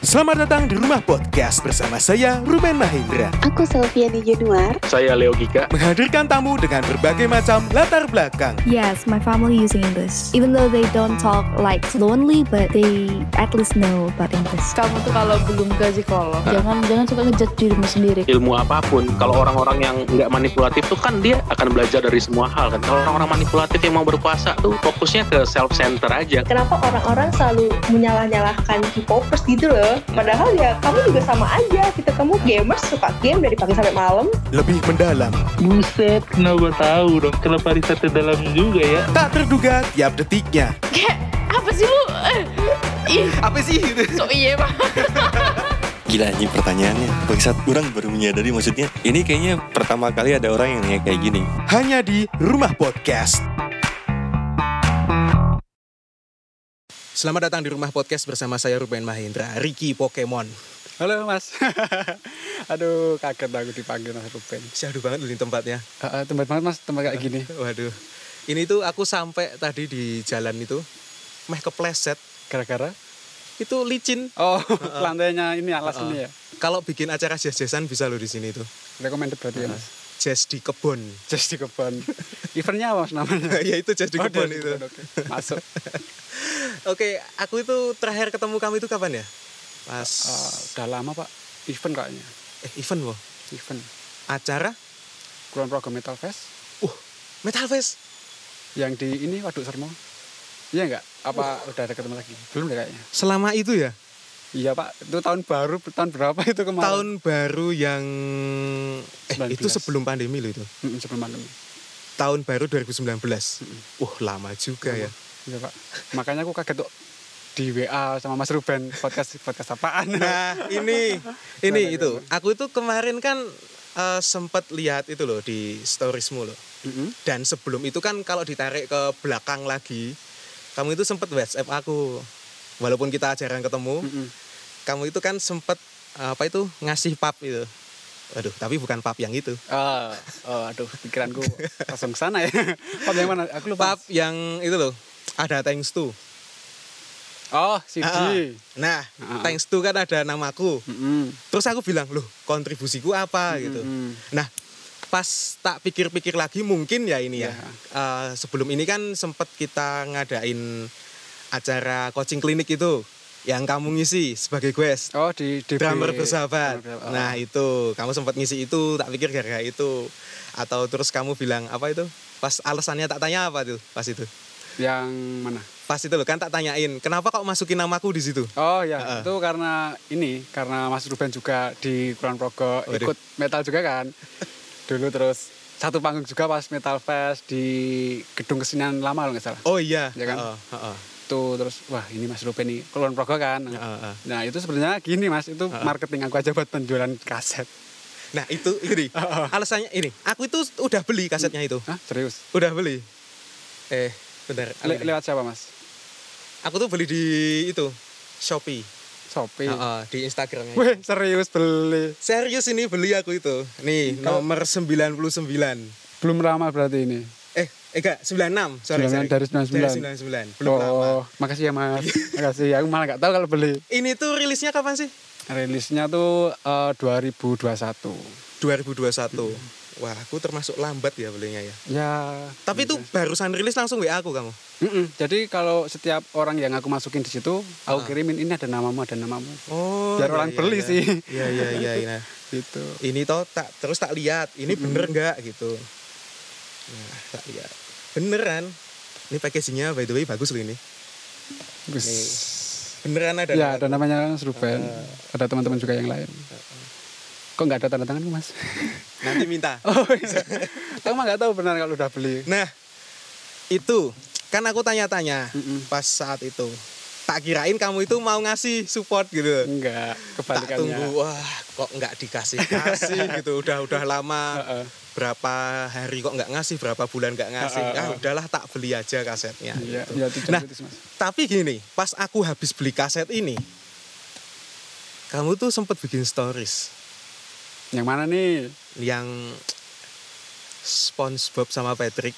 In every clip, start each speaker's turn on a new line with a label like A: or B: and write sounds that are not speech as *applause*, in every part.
A: Selamat datang di Rumah Podcast bersama saya Ruben Mahendra
B: Aku Selviani Januar.
C: Saya Leo Gika.
A: Menghadirkan tamu dengan berbagai macam latar belakang
D: Yes, my family using English. Even though they don't talk like fluently, but they at least know about English.
E: kamu tuh kalau belum ke psikolog ya. jangan jangan suka ngejat dirimu sendiri
C: Ilmu apapun, kalau orang-orang yang nggak manipulatif tuh kan dia akan belajar dari semua hal kan. Kalau orang-orang manipulatif yang mau berkuasa tuh fokusnya ke self center aja.
F: kenapa orang-orang selalu menyalah-nyalahkan K-popers gitu loh padahal ya kamu juga sama aja gitu kamu gamers suka game dari pagi sampai malam
A: Lebih mendalam
G: Buset, kenapa tahu dong? Kenapa risetnya dalam juga ya?
A: Tak terduga tiap detiknya
E: kayak apa sih *laughs* lu Eh, ih
H: apa sih gitu
E: so iya pak
I: Gila ini pertanyaannya. Bagi saat orang baru menyadari maksudnya ini kayaknya pertama kali ada orang yang nanya kayak gini.
A: Hanya di Rumah Podcast Selamat datang di Rumah Podcast bersama saya Ruben Mahendra Ricky Pokemon
H: halo mas *laughs* aduh kaget aku dipanggil mas Ruben
A: Syahdu banget loh ini *laughs* tempatnya
H: Ah, ah, tempat banget mas tempat kayak gini
A: Waduh Ini tuh aku sampai tadi di jalan itu Meh kepleset
H: gara-gara
A: Itu licin
H: oh lantainya ini alas ini ya
A: Kalau bikin acara jazz-jazzan bisa loh di sini tuh
H: recommended berarti ya mas
A: Jazz di kebun *laughs*
H: Jazz di kebun *laughs* eventnya apa mas namanya *laughs*
A: ya itu jazz di
H: Oh,
A: kebun
H: Jazz di
A: itu
H: Kebun, oke. *laughs* masuk
A: Oke, aku itu terakhir ketemu kamu itu kapan ya? Pas
H: Ah, udah lama pak event kayaknya
A: eh, event loh,
H: event
A: acara
H: kurang program metal fest
A: Metal Fest.
H: yang di ini waduk sermo iya enggak apa udah ada ketemu lagi belum deh kayaknya
A: Selama itu ya,
H: iya pak itu tahun baru tahun berapa itu kemarin
A: tahun baru yang eh
H: 19.
A: itu sebelum pandemi loh itu.
H: Mm, sebelum pandemi
A: Tahun baru 2019. Wah, lama juga ya.
H: Iya pak. Makanya aku kaget tuh di WA sama Mas Ruben podcast podcast
A: *laughs*
H: *laughs* apaan?
A: Nah, ini ini itu. Aku itu kemarin kan eh, sempat lihat itu loh di storiesmu loh.
H: Mm-mm.
A: Dan sebelum itu kan kalau ditarik ke belakang lagi, kamu itu sempat WhatsApp aku. Walaupun kita jarang ketemu,
H: Mm-mm.
A: kamu itu kan sempet apa itu ngasih pap itu. Aduh, tapi bukan pap yang itu.
H: Ah, oh, aduh pikiranku langsung ke sana ya. *laughs* Pap yang mana? Aku lupa.
A: Pap yang itu loh. Ada thanks to.
H: Oh, CD.
A: Ah, Nah,
H: Ah.
A: thanks to kan ada namaku.
H: Mm-mm.
A: Terus aku bilang, "Loh, kontribusiku apa?"
H: Hmm,
A: gitu.
H: Mm-mm.
A: Nah, pas tak pikir-pikir lagi mungkin ya ini ya.
H: Ya.
A: Eh, sebelum ini kan sempat kita ngadain acara coaching klinik itu yang kamu ngisi sebagai guest.
H: Oh, di DB.
A: drummer bersahabat.
H: Drummer bersahabat.
A: Nah itu kamu sempat ngisi itu, tak pikir gara-gara itu. Atau terus kamu bilang apa itu? Pas alasannya tak tanya apa tuh? Pas itu,
H: yang mana?
A: pas itu loh kan tak tanyain. Kenapa kok masukin namaku di situ?
H: Oh ya,
A: Ah, ah.
H: itu karena ini karena Mas Ruben juga di Kurang Progo
A: Waduh.
H: ikut metal juga
A: *laughs*
H: kan. Dulu terus satu panggung juga pas Metal Fest di gedung kesenian lama kalau nggak salah.
A: Oh iya.
H: Ya kan?
A: Heeh, heeh.
H: tuh terus wah ini Mas Ruben nih keluar progo kan
A: Heeh.
H: nah itu sebenarnya gini Mas itu marketing aku aja buat penjualan kaset
A: Nah itu
H: *laughs*
A: ini alasannya ini. Aku itu udah beli kasetnya itu.
H: Hah, serius
A: Udah beli. Eh bentar. aku
H: Le-
A: ini.
H: lewat siapa Mas
A: Aku tuh beli di itu Shopee.
H: Shopee
A: Heeh, di Instagramnya.
H: Wih, serius beli
A: Serius ini beli aku itu. Nih nomor 99.
H: belum lama berarti ini
A: Eh, eh, enggak, 96. Sorry,
H: 99
A: sorry.
H: dari 99.
A: Dari 99. Belum lama.
H: oh makasih ya Mas
A: *laughs*
H: makasih aku malah nggak tahu kalau beli
A: Ini tuh rilisnya kapan sih?
H: rilisnya tuh eh, 2021
A: 2021.
H: Hmm.
A: Wah, aku termasuk lambat ya belinya ya.
H: ya
A: Tapi itu barusan rilis langsung WA aku kamu.
H: mm-mm. jadi kalau setiap orang yang aku masukin di situ aku kirimin ini ada namamu ada namamu
A: Oh,
H: Biar orang beli
A: iya.
H: sih.
A: Iya, iya, iya.
H: *laughs*
A: iya.
H: gitu
A: Ini toh tak terus tak lihat, ini bener nggak gitu. Nah, tak lihat. Beneran. Ini packagingnya by the way bagus loh ini.
H: Wis.
A: Beneran ada.
H: Ya,
A: nama-
H: ada namanya Mas Ruben. ada teman-teman juga yang lain. Kok nggak ada tanda tangan Mas?
A: Nanti minta.
H: *laughs* Oh, iya. Aku mah nggak tahu benar kalau udah beli.
A: Nah, itu kan aku tanya-tanya
H: Mm-mm.
A: pas saat itu. Tak kirain kamu itu mau ngasih support gitu.
H: Enggak,
A: Tak
H: kebalikannya.
A: tunggu, wah kok nggak dikasih
H: *laughs*
A: kasih gitu. Udah udah lama
H: Heeh.
A: berapa hari kok nggak ngasih, berapa bulan nggak ngasih.
H: Heeh,
A: Ah udahlah tak beli aja kasetnya.
H: Iya,
A: gitu.
H: iya itu
A: Nah,
H: nah. Mas.
A: tapi gini, pas aku habis beli kaset ini, kamu tuh sempet bikin stories
H: Yang mana nih?
A: yang SpongeBob sama Patrick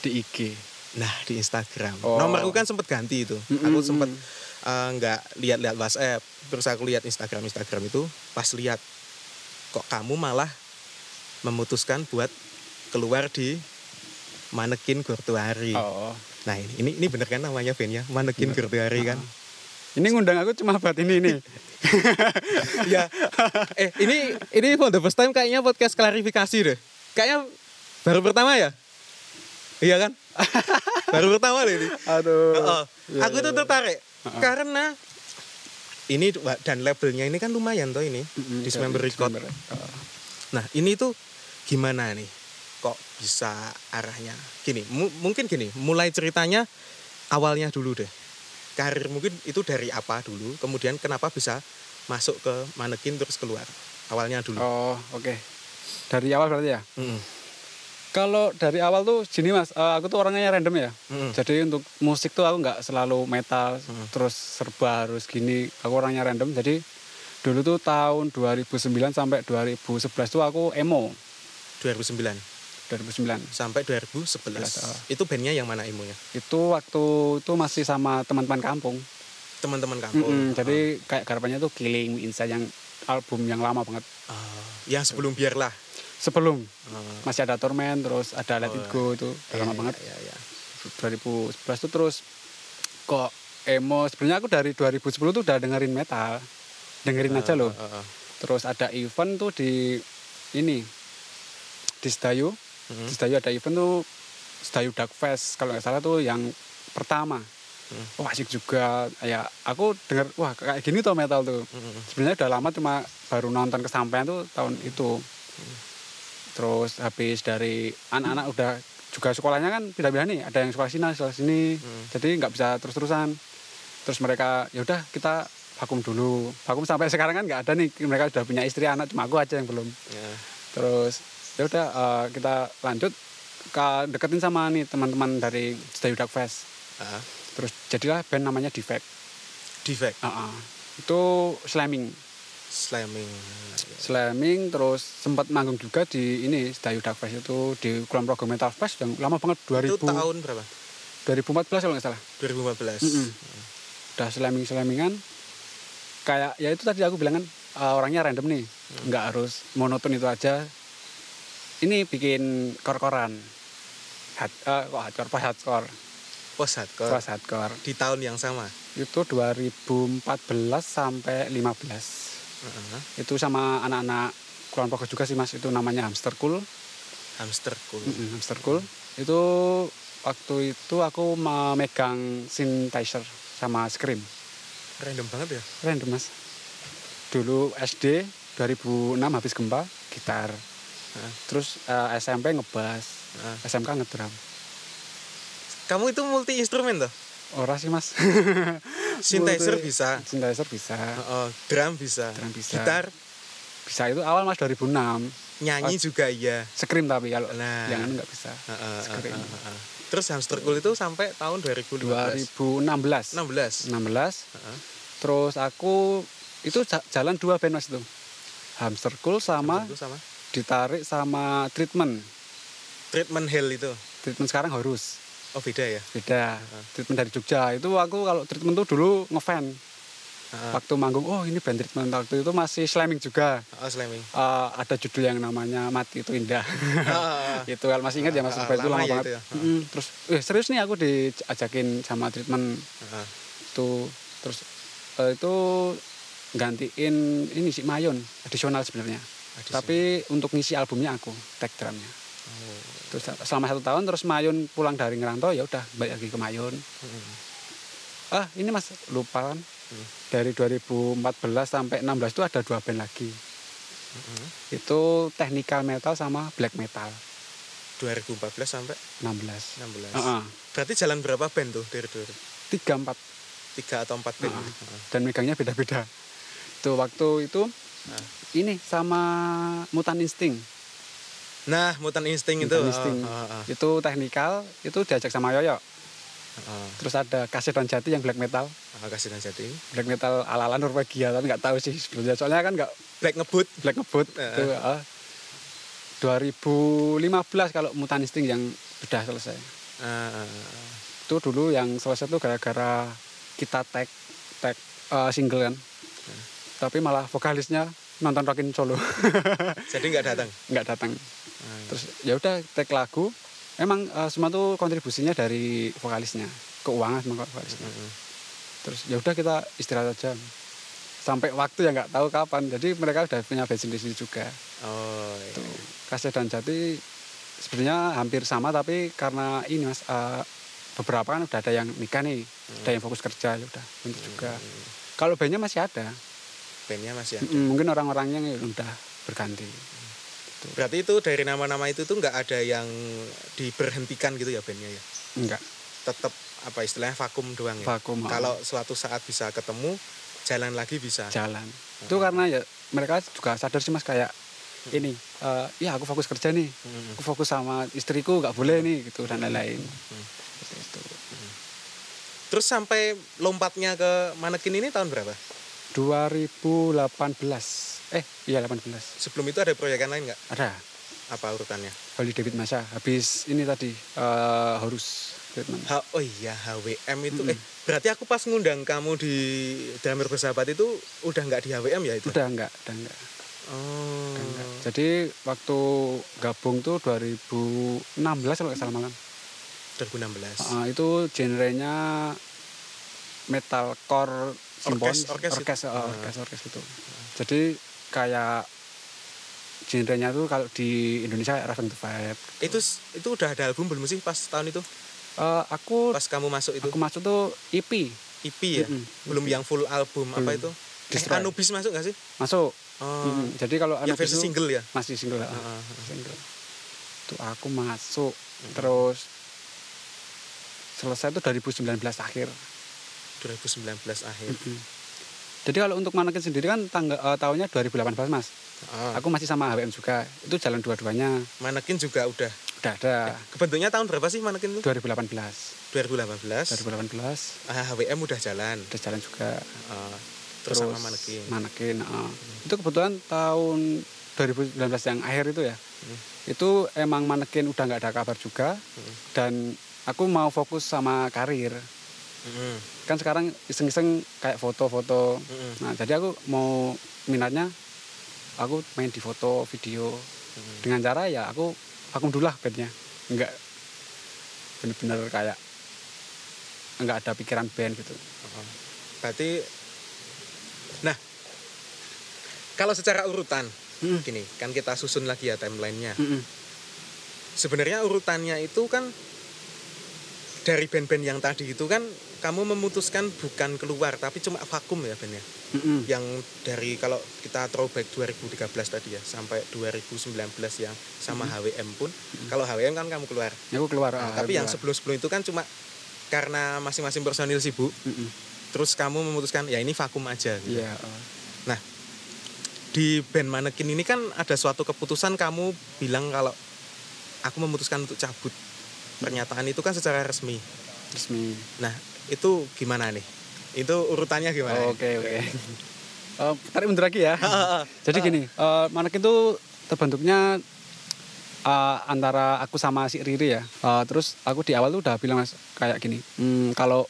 H: Di IG.
A: Nah di Instagram.
H: Oh.
A: Nomorku kan sempat ganti itu.
H: Mm-mm.
A: Aku sempat eh, nggak lihat-lihat WhatsApp terus aku lihat Instagram Instagram itu pas lihat kok kamu malah memutuskan buat keluar di manekin Gortuari
H: Oh.
A: nah ini ini ini bener kan namanya Ben ya manekin Gortuari kan
H: Ini ngundang aku cuma buat ini ini.
A: ya
H: Iya.
A: *laughs* eh ini ini for the first time kayaknya podcast klarifikasi deh kayaknya baru pertama ya iya
H: *laughs*
A: kan baru pertama deh ini
H: Aduh.
A: Heeh.
H: Iya,
A: aku tuh tertarik karena ini wa- dan labelnya ini kan lumayan toh ini
H: Mm-mm,
A: Dismember
H: dari
A: Record.
H: Dismember. Oh.
A: Nah ini tuh gimana nih? Kok bisa arahnya? Gini, mu- mungkin gini, mulai ceritanya awalnya dulu deh. Karir mungkin itu dari apa dulu, kemudian kenapa bisa masuk ke manekin terus keluar? Awalnya dulu.
H: Oh, oke. Dari awal berarti ya.
A: Mm-mm,
H: Kalau dari awal tuh gini mas, eh, aku tuh orangnya random ya.
A: mm-mm.
H: Jadi untuk musik tuh aku nggak selalu metal,
A: Hmm.
H: terus serba harus gini. Aku orangnya random. Jadi dulu tuh tahun 2009 sampai 2011 tuh aku emo.
A: 2009
H: 2009
A: sampai 2011.
H: Oh.
A: Itu bandnya yang mana imunya?
H: itu waktu itu masih sama teman-teman kampung.
A: Teman-teman kampung. ah.
H: Mm-mm, Jadi kayak garapannya tuh Killing Me Inside yang album yang lama banget.
A: Ah, ah. yang sebelum biarlah.
H: Sebelum
A: Ah,
H: masih ada Torment, terus ada Let It Go itu udah lama
A: iya,
H: banget.
A: iya, iya.
H: 2011 tuh terus kok emo. Sebenarnya aku dari 2010 tuh udah dengerin metal. Dengerin aja loh.
A: Ah, ah.
H: Terus ada event tuh di ini di Sedayu.
A: Mhm.
H: Di Sedayu ada event tuh Sedayu Dark Fest kalau nggak salah tuh yang pertama.
A: Hmm.
H: Wah asik juga. Ya aku denger wah kayak gini tuh metal tuh.
A: Mm-mm.
H: Sebenarnya udah lama cuma baru nonton kesampaian tuh tahun itu. Terus habis dari anak-anak udah juga sekolahnya kan pindah-pindah nih. Ada yang sekolah sini, sekolah sini. Jadi nggak bisa terus-terusan. Terus mereka ya udah kita vakum dulu. Vakum sampai sekarang kan nggak ada nih. Mereka sudah punya istri anak cuma aku aja yang belum.
A: Ya.
H: Terus ya udah eh, kita lanjut Ka- deketin sama nih teman-teman dari Sedayu Dark Fest.
A: Ah.
H: Terus jadilah band namanya Defect.
A: Defect,
H: Ah, ah. Itu slamming.
A: slamming.
H: Slamming terus sempat manggung juga di ini Sedayu Dark Fest itu di Kulon Progo Metal Fest yang lama banget
A: Itu
H: 2000
A: tahun Hmm. berapa?
H: 2014 kalau nggak salah.
A: 2015.
H: Mm-mm. Udah slamming slammingan kayak ya itu tadi aku bilang kan eh, orangnya random nih.
A: Hmm.
H: nggak harus monoton itu aja. Ini bikin kor-koran. Hard, eh, kok hardcore, post hardcore,
A: Post hardcore.
H: post hardcore.
A: Oh, di tahun yang sama.
H: Itu 2014 sampai 15.
A: Heeh.
H: itu sama anak-anak Kulon Progo juga sih mas itu namanya hamster cool
A: Hamster cool.
H: Mm-mm, hamster cool itu waktu itu aku memegang synthesizer sama scream Hmm.
A: Random banget ya.
H: random mas dulu SD 2006 habis gempa gitar terus eh, SMP ngebass
A: Heeh.
H: SMK ngedrum
A: Kamu itu multi instrumen tuh.
H: ora sih
A: *laughs*
H: mas
A: Synthesizer
H: Multi-
A: bisa.
H: synthesizer bisa
A: Heeh, drum bisa.
H: Drum bisa.
A: Gitar,
H: bisa itu awal mas 2006
A: nyanyi juga iya.
H: scream tapi kalau
A: Nah.
H: yang anu nggak bisa
A: Heeh, heeh,
H: Scream.
A: heeh, heeh. Terus hamster cool itu sampai tahun 2015.
H: 2016
A: 16.
H: 16. Terus aku itu ja- jalan dua band mas itu. Hamster Cool sama
A: Itu sama.
H: ditarik sama treatment.
A: Treatment hell itu.
H: Treatment sekarang harus
A: Oh beda ya.
H: beda. Treatment dari Jogja itu aku kalau treatment tuh dulu ngefan.
A: Heeh.
H: Waktu manggung, oh ini band treatment waktu itu masih slamming juga.
A: Oh, slamming.
H: Eh, ada judul yang namanya Mati itu Indah. *laughs*
A: Heeh.
H: itu kan masih ingat ya mas
A: Ah,
H: Ubed itu
A: lama
H: lama
A: ya
H: banget.
A: itu ya.
H: Mm-mm. Terus, eh serius nih aku diajakin sama treatment
A: heeh.
H: itu terus eh, itu gantiin ini si Mayon additional sebenarnya
A: Additional.
H: tapi untuk ngisi albumnya aku tag drumnya terus selama satu tahun terus Mayon pulang dari ngerantau ya udah balik lagi ke Mayon ah ini mas lupa kan dari 2014 sampai 16 itu ada dua band lagi itu technical metal sama black metal
A: 2014 sampai
H: 16
A: 16.
H: Heeh,
A: Berarti jalan berapa band tuh dari dulu?
H: tiga empat
A: Tiga atau empat band?
H: Heeh.
A: Heeh.
H: dan megangnya beda-beda. Tuh waktu itu ini sama Mutan Insting.
A: Nah, Mutant Instinct itu.
H: Mutant
A: Heeh,
H: Instinct.
A: heeh,
H: Itu teknikal, itu diajak sama Yoyo.
A: heeh.
H: Terus ada Kaset dan Jati yang black metal.
A: Ah, Kasih dan Jati.
H: Black metal ala-ala Norwegia, tapi nggak tahu sih sebenarnya. Soalnya kan nggak
A: Black ngebut.
H: black ngebut.
A: Heeh.
H: Itu, ah. 2015 kalau Mutan Insting yang sudah selesai.
A: Ah, ah, ah.
H: Itu dulu yang selesai tuh gara-gara kita tag tag eh, single kan tapi malah vokalisnya nonton rockin solo
A: Jadi nggak datang.
H: nggak datang terus ya udah tag lagu emang eh, semua tuh kontribusinya dari vokalisnya keuangan sama vokalisnya terus ya udah kita istirahat aja sampai waktu yang nggak tahu kapan jadi mereka udah punya bensin di sini juga
A: Oh, iya.
H: Tuh, Kasih dan Jati sebenarnya hampir sama tapi karena ini mas eh, beberapa kan udah ada yang nikah nih, ada yang fokus kerja ya udah untuk juga. Kalau bandnya masih ada,
A: bandnya masih ada.
H: Mm, mungkin orang-orangnya yang udah berganti.
A: Berarti itu dari nama-nama itu tuh nggak ada yang diberhentikan gitu ya bandnya ya.
H: Enggak,
A: Tetap apa istilahnya vakum doang ya.
H: vakum. oh,
A: Kalau suatu saat bisa ketemu, jalan lagi bisa.
H: jalan itu karena ya mereka juga sadar sih mas kayak ini eh, ya aku fokus kerja nih,
A: Mm-mm.
H: aku fokus sama istriku nggak boleh nih gitu dan lain-lain. Seperti itu.
A: Terus sampai lompatnya ke manekin ini tahun berapa?
H: 2018 eh iya 18
A: Sebelum itu ada proyekan lain nggak?
H: ada
A: Apa urutannya?
H: Holy David Masa habis ini tadi eh Horus Vietnam.
A: Ha- oh iya HWM itu eh berarti aku pas ngundang kamu di Damir Bersahabat itu udah nggak di HWM ya itu?
H: Udah enggak, udah enggak,
A: Oh.
H: udah enggak. Jadi waktu gabung tuh 2016 kalau nggak salah malam.
A: 2016.
H: Eh, itu genrenya metalcore simfonis,
A: orkes itu.
H: orkes, eh,
A: Ah.
H: orkes, orkes gitu. Jadi kayak genrenya tuh kalau di Indonesia kayak Raven to Fight.
A: Itu itu udah ada album belum sih pas tahun itu?
H: Eh, aku
A: Pas kamu masuk itu
H: aku masuk tuh EP
A: EP ya?
H: Mm-mm.
A: Belum yang full album apa
H: Belum.
A: itu? Eh,
H: Destroy.
A: Anubis masuk nggak sih?
H: masuk.
A: Oh.
H: Mm-mm. Jadi kalau
A: Yang
H: Anubis
A: versi
H: tuh-
A: single ya?
H: masih single ah,
A: Heeh.
H: single tuh aku masuk terus selesai tuh 2019 akhir
A: 2019 akhir.
H: Gitu. jadi kalau untuk manekin sendiri kan tangga, eh, tahunnya 2018 mas
A: Ah,
H: aku masih sama HWM juga itu jalan dua-duanya
A: Manekin juga udah. Ya,
H: udah ada
A: Ah. Kebentuknya tahun berapa sih Manekin itu?
H: 2018
A: 2018.
H: 2018
A: Ah, HWM udah jalan.
H: udah jalan juga
A: Ah, terus, sama Manekin.
H: Manekin, ah. itu kebetulan tahun 2019 yang akhir itu ya
A: Hmm.
H: itu emang manekin udah nggak ada kabar juga dan aku mau fokus sama karir
A: Mm-mm.
H: kan sekarang iseng-iseng kayak foto-foto
A: Mm-mm.
H: nah jadi aku mau minatnya aku main di foto video dengan cara ya aku vakum dulu lah bandnya nggak bener-bener kayak nggak ada pikiran band gitu
A: Berarti Nah, kalau secara urutan gini, kan kita susun lagi ya timelinenya.
H: Mm-mm.
A: Sebenarnya urutannya itu kan dari band-band yang tadi itu kan kamu memutuskan bukan keluar tapi cuma vakum ya bandnya.
H: Mm-mm.
A: Yang dari kalau kita throwback 2013 tadi ya sampai 2019 yang sama HWM pun, kalau HWM kan kamu keluar.
H: aku keluar
A: Nah,
H: Hmm. ah,
A: tapi yang
H: keluar.
A: sebelum-sebelum itu kan cuma karena masing-masing personil sibuk,
H: Mm-mm.
A: terus kamu memutuskan ya ini vakum aja. gitu.
H: Iya. eh,
A: di band manekin ini kan ada suatu keputusan kamu bilang kalau aku memutuskan untuk cabut pernyataan itu kan secara resmi
H: resmi.
A: nah itu gimana nih itu urutannya gimana nih?
H: Oke oke. *laughs* Eh, tarik mundur lagi
A: *laughs*
H: ya.
A: Ah, ah, ah.
H: Jadi gini, eh Manekin tuh terbentuknya eh, antara aku sama si Riri ya. Eh, terus aku di awal tuh udah bilang mas kayak gini, "Hmm, kalau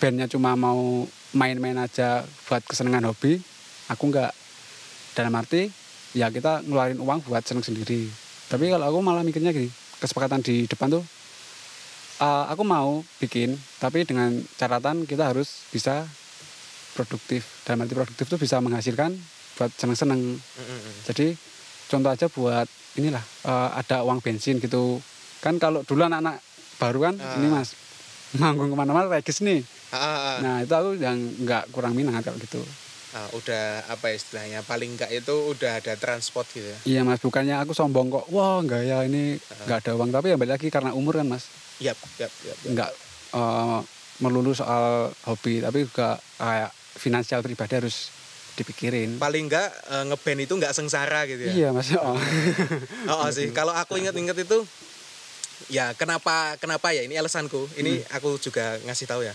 H: bandnya cuma mau main-main aja buat kesenangan hobi, aku nggak dalam arti ya kita ngeluarin uang buat seneng sendiri. Tapi kalau aku malah mikirnya gini, kesepakatan di depan tuh eh, aku mau bikin, tapi dengan catatan kita harus bisa produktif. Dalam arti produktif itu bisa menghasilkan buat seneng-seneng.
A: Mm-mm.
H: Jadi contoh aja buat inilah eh, ada uang bensin gitu. Kan kalau dulu anak-anak baru kan ini mas manggung kemana-mana regis nih.
A: Ah, ah, ah.
H: Nah itu aku yang nggak kurang minat kalau gitu.
A: Ah, udah apa istilahnya paling enggak itu udah ada transport gitu ya
H: Iya mas bukannya aku sombong kok. Wah nggak ya ini nggak ada uang tapi ya balik lagi karena umur kan mas.
A: yap yap yap, yap.
H: nggak eh, melulu soal hobi tapi juga kayak finansial pribadi harus dipikirin
A: paling enggak eh, ngeband itu enggak sengsara gitu ya
H: iya mas
A: Oh,
H: oh.
A: oh, sih, kalau aku ingat-ingat itu ya kenapa kenapa ya ini alasanku. Ini aku juga ngasih tahu ya.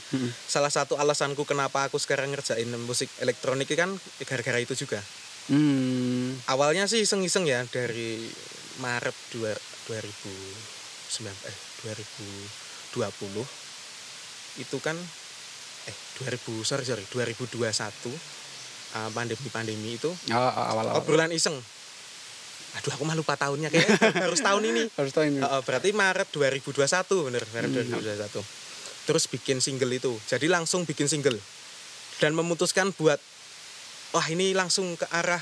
A: Salah satu alasanku kenapa aku sekarang ngerjain musik elektronik itu kan gara-gara itu juga.
H: hmm,
A: Awalnya sih iseng-iseng ya dari Maret dua- 2009 eh 2020 itu kan eh 2000 sorry sorry 2021 uh, pandemi-pandemi itu
H: oh, awal-awal.
A: obrolan iseng. Aduh aku mah lupa tahunnya kayaknya *laughs* harus tahun ini.
H: Harus tahu ini.
A: Heeh, berarti Maret 2021 bener Maret 2021 terus bikin single itu jadi langsung bikin single dan memutuskan buat wah ini langsung ke arah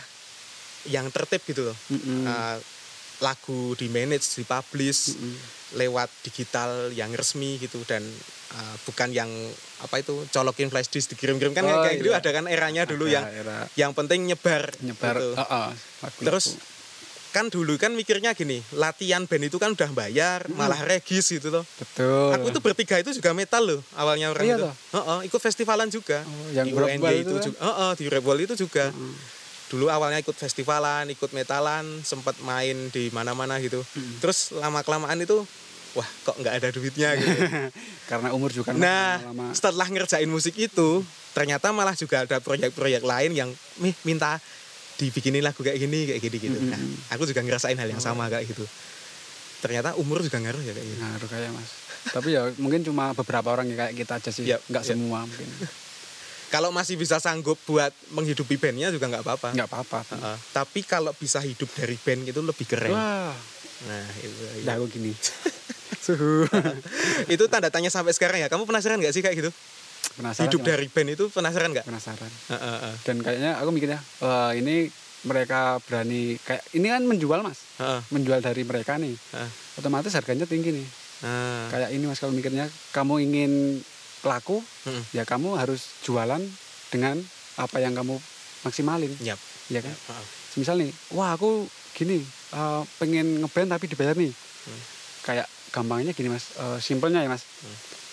A: yang tertib gitu loh
H: Mm-mm.
A: Eh, lagu di manage dipublish lewat digital yang resmi gitu dan eh, bukan yang apa itu colokin flash disk dikirim-kirim kan
H: Oh,
A: kayak gitu
H: iya.
A: ada kan eranya dulu
H: Ada
A: yang
H: era
A: yang penting nyebar
H: nyebar.
A: gitu.
H: Heeh, lagu-lagu.
A: Terus kan dulu kan mikirnya gini, latihan band itu kan udah bayar,
H: Hmm.
A: malah regis gitu loh.
H: betul.
A: Aku tuh bertiga itu juga metal loh awalnya orang
H: Oh, Iya
A: itu.
H: toh?
A: Heeh, ikut festivalan juga.
H: Oh, yang
A: di
H: Grab
A: UNJ
H: Ball
A: itu,
H: itu kan?
A: juga. Heeh, di Grab Ball itu juga. Dulu awalnya ikut festivalan, ikut metalan, sempat main di mana-mana gitu. Terus lama-kelamaan itu wah kok nggak ada duitnya gitu.
H: *laughs* karena umur juga
A: Nah,
H: lama-lama.
A: setelah ngerjain musik itu, ternyata malah juga ada proyek-proyek lain yang "Mih, minta dibikinin lagu kayak gini, kayak gini gitu. Nah, aku juga ngerasain hal
H: Oh.
A: yang sama kayak gitu. Ternyata umur juga ngaruh ya kayak gitu.
H: Ngaruh kayak Mas. Tapi ya mungkin cuma beberapa orang yang kayak kita aja sih,
A: Yap,
H: nggak
A: yap.
H: semua mungkin.
A: Kalau masih bisa sanggup buat menghidupi bandnya juga nggak apa-apa.
H: Nggak apa-apa.
A: Heeh. tapi kalau bisa hidup dari band itu lebih keren.
H: Wah,
A: Nah, itu,
H: udah aku
A: *laughs*
H: gini. Suhu.
A: itu tanda tanya sampai sekarang ya. Kamu penasaran nggak sih kayak gitu?
H: penasaran.
A: hidup
H: Mas.
A: dari band itu penasaran nggak?
H: penasaran.
A: Heeh, heeh.
H: Dan kayaknya aku mikirnya wah ini mereka berani kayak ini kan menjual Mas.
A: Heeh,
H: Menjual dari mereka nih.
A: heeh.
H: Otomatis harganya tinggi nih.
A: Nah,
H: Kayak ini Mas kalau mikirnya kamu ingin laku,
A: Mm-mm.
H: ya kamu harus jualan dengan apa yang kamu maksimalin,
A: Yap.
H: ya kan?
A: Heeh.
H: Misal nih, wah aku gini eh, pengen ngeband tapi dibayar nih.
A: Hmm.
H: Kayak gampangnya gini mas, eh, simpelnya ya mas.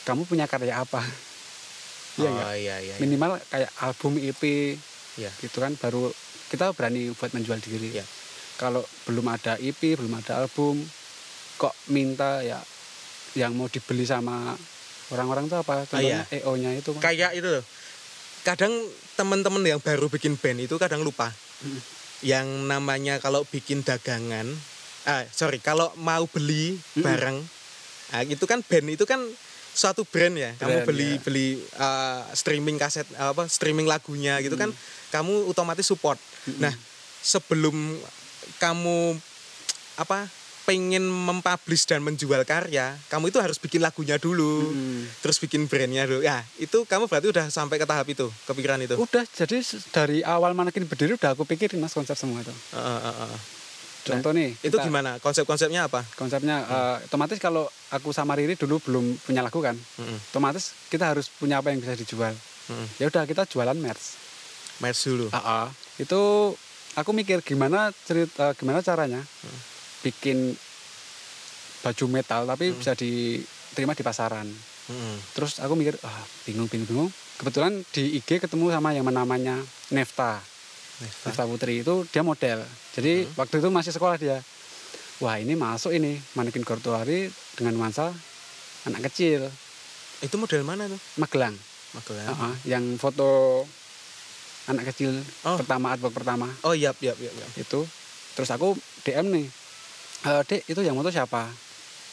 H: Kamu punya karya apa? Iya nggak?
A: Oh, iya, iya, iya.
H: Minimal kayak album EP,
A: Iya.
H: gitu kan baru kita berani buat menjual diri.
A: Iya.
H: Kalau belum ada EP, belum ada album, kok minta ya yang mau dibeli sama orang-orang itu
A: Ah,
H: apa? Contohnya
A: iya.
H: EO-nya itu. Mas.
A: kayak itu loh. Kadang teman-teman yang baru bikin band itu kadang lupa. Yang namanya kalau bikin dagangan, ah sorry, kalau mau beli barang, ah, itu kan band itu kan suatu brand ya. kamu
H: Brand,
A: beli
H: ya.
A: beli ah, streaming kaset apa streaming lagunya gitu kan, kamu otomatis support. Nah, sebelum kamu apa pengen mempublish dan menjual karya, kamu itu harus bikin lagunya dulu, terus bikin brandnya dulu. Ya, itu kamu berarti udah sampai ke tahap itu, kepikiran itu.
H: Udah, jadi se- dari awal manekin berdiri udah aku pikirin mas konsep semua itu.
A: Heeh, heeh, heeh.
H: Contoh nih,
A: Nah, Itu
H: kita-
A: gimana? Hmm. Konsep-konsepnya apa?
H: konsepnya eh, otomatis kalau aku sama Riri dulu belum punya lagu kan
A: Mm-mm.
H: otomatis kita harus punya apa yang bisa dijual
A: Mm-mm.
H: ya udah kita jualan merch
A: Merch dulu.
H: gitu. Ah. itu aku mikir gimana cerita gimana caranya
A: Hmm.
H: bikin baju metal tapi
A: Hmm.
H: bisa diterima di pasaran
A: Heeh.
H: terus aku mikir ah, bingung bingung bingung kebetulan di IG ketemu sama yang namanya Nefta
A: Nefta. Hmm.
H: Nefta Putri itu dia model jadi waktu itu masih sekolah dia wah ini masuk ini manekin Gortuari dengan nuansa anak kecil
A: Itu model mana tuh?
H: Magelang
A: Magelang.
H: Ah, ah, yang foto anak kecil
A: Oh.
H: pertama artwork pertama
A: Oh, iya, iya, iya. iya.
H: itu terus aku DM nih "E, dek itu yang moto siapa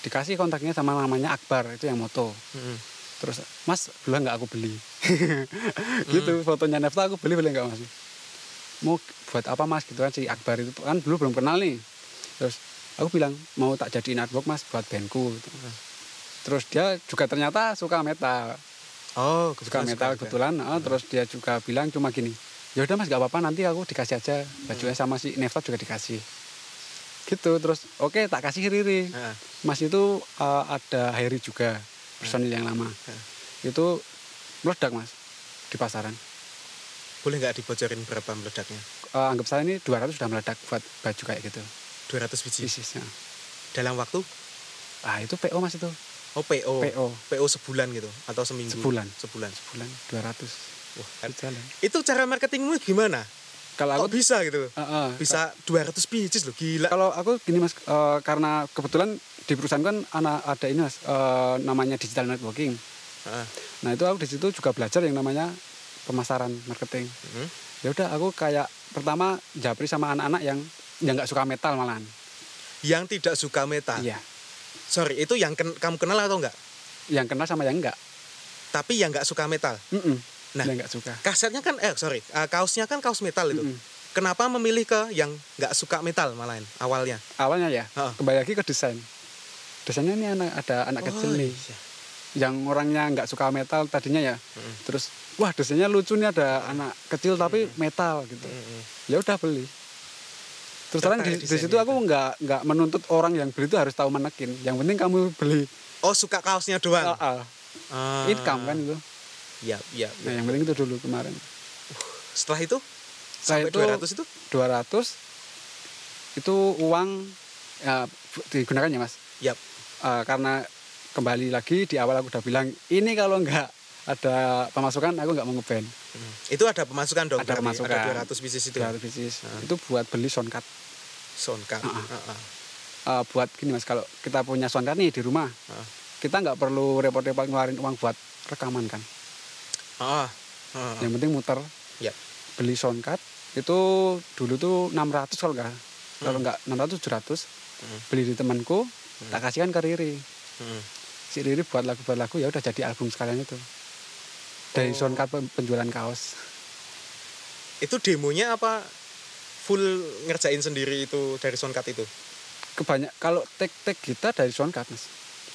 H: dikasih kontaknya sama namanya Akbar itu yang moto
A: Heeh.
H: terus mas boleh nggak aku beli *laughs* gitu fotonya Nefta aku beli boleh nggak mas mau buat apa mas gitu kan si Akbar itu kan dulu belum kenal nih terus aku bilang mau tak jadiin artwork mas buat bandku gitu. terus dia juga ternyata suka metal
A: Oh,
H: suka
A: kebetulan
H: metal
A: juga.
H: kebetulan ah, terus dia juga bilang cuma gini ya udah mas gak apa-apa nanti aku dikasih aja bajunya sama si Nefta juga dikasih gitu terus oke tak kasih Riri
A: Heeh.
H: Mas itu uh, ada Harry juga personil yang lama. Itu meledak mas di pasaran.
A: Boleh nggak dibocorin berapa meledaknya?
H: Uh, anggap saya ini 200 sudah meledak buat baju kayak gitu.
A: 200 biji.
H: Isisnya.
A: Dalam waktu
H: Ah itu PO mas itu
A: oh PO.
H: PO.
A: PO sebulan gitu atau seminggu?
H: Sebulan.
A: Sebulan.
H: bulan 200.
A: Wah,
H: Itu jalan.
A: itu cara marketingmu gimana?
H: Kalau aku
A: Kan? Kok bisa gitu?
H: Ah, ah.
A: bisa 200 pieces loh gila
H: Kalau aku gini mas, uh, karena kebetulan di perusahaan kan ana- ada ini mas, uh, namanya digital networking.
A: Heeh.
H: Nah itu aku di situ juga belajar yang namanya pemasaran marketing.
A: Mhm.
H: Ya udah aku kayak pertama japri sama anak-anak yang yang nggak suka metal malahan.
A: yang tidak suka metal
H: Iya.
A: sorry itu yang ken- kamu kenal atau enggak
H: Yang kenal sama yang enggak.
A: tapi yang nggak suka metal
H: Mm-mm.
A: Nah.
H: dia nggak suka
A: Kasetnya kan eh sorry, eh, kaosnya kan kaos metal itu.
H: Mm-mm.
A: Kenapa memilih ke yang nggak suka metal malahan awalnya?
H: awalnya ya
A: Heeh.
H: kembali lagi ke desain desainnya ini anak ada anak
A: Oh,
H: kecil nih
A: iya.
H: yang orangnya nggak suka metal tadinya ya terus wah desainnya lucu nih ada anak kecil tapi metal gitu
A: Mm-mm.
H: ya udah beli terus terang di,
A: Tertarik
H: di
A: desainnya
H: situ aku
A: itu.
H: nggak nggak menuntut orang yang beli itu harus tahu menekin yang penting kamu beli
A: Oh, suka kaosnya doang.
H: Ah, ah.
A: Ah,
H: income kan itu
A: Iya, iya. iya.
H: nah yang penting itu dulu kemarin
A: Setelah itu sampai
H: Setelah
A: 200
H: itu-
A: itu
H: 200 itu uang ya, bu- digunakan ya mas
A: Yap.
H: Eh, karena kembali lagi di awal aku udah bilang ini kalau nggak ada pemasukan aku nggak mau ngeband
A: Hmm. Itu ada pemasukan dong.
H: Ada
A: berarti.
H: pemasukan.
A: Ada 200 bisnis itu. ya? Ah.
H: Dua ratus bisnis itu buat beli soundcard
A: Soundcard. Heeh.
H: Eh, buat gini mas kalau kita punya soundcard nih di rumah
A: Ah.
H: kita nggak perlu repot-repot ngeluarin uang buat rekaman kan
A: Heeh. Heeh.
H: yang penting muter
A: Yap.
H: beli soundcard itu dulu tuh 600 kalau nggak kalau nggak 600 700
A: Hmm.
H: beli di temanku tak kasihkan ke Riri
A: Hmm.
H: si Riri buat lagu buat lagu ya udah jadi album sekalian itu
A: Oh.
H: dari soundcard pen- penjualan kaos
A: Itu demonya apa full ngerjain sendiri itu dari soundcard itu?
H: kebanyak kalau tek tek kita dari soundcard mas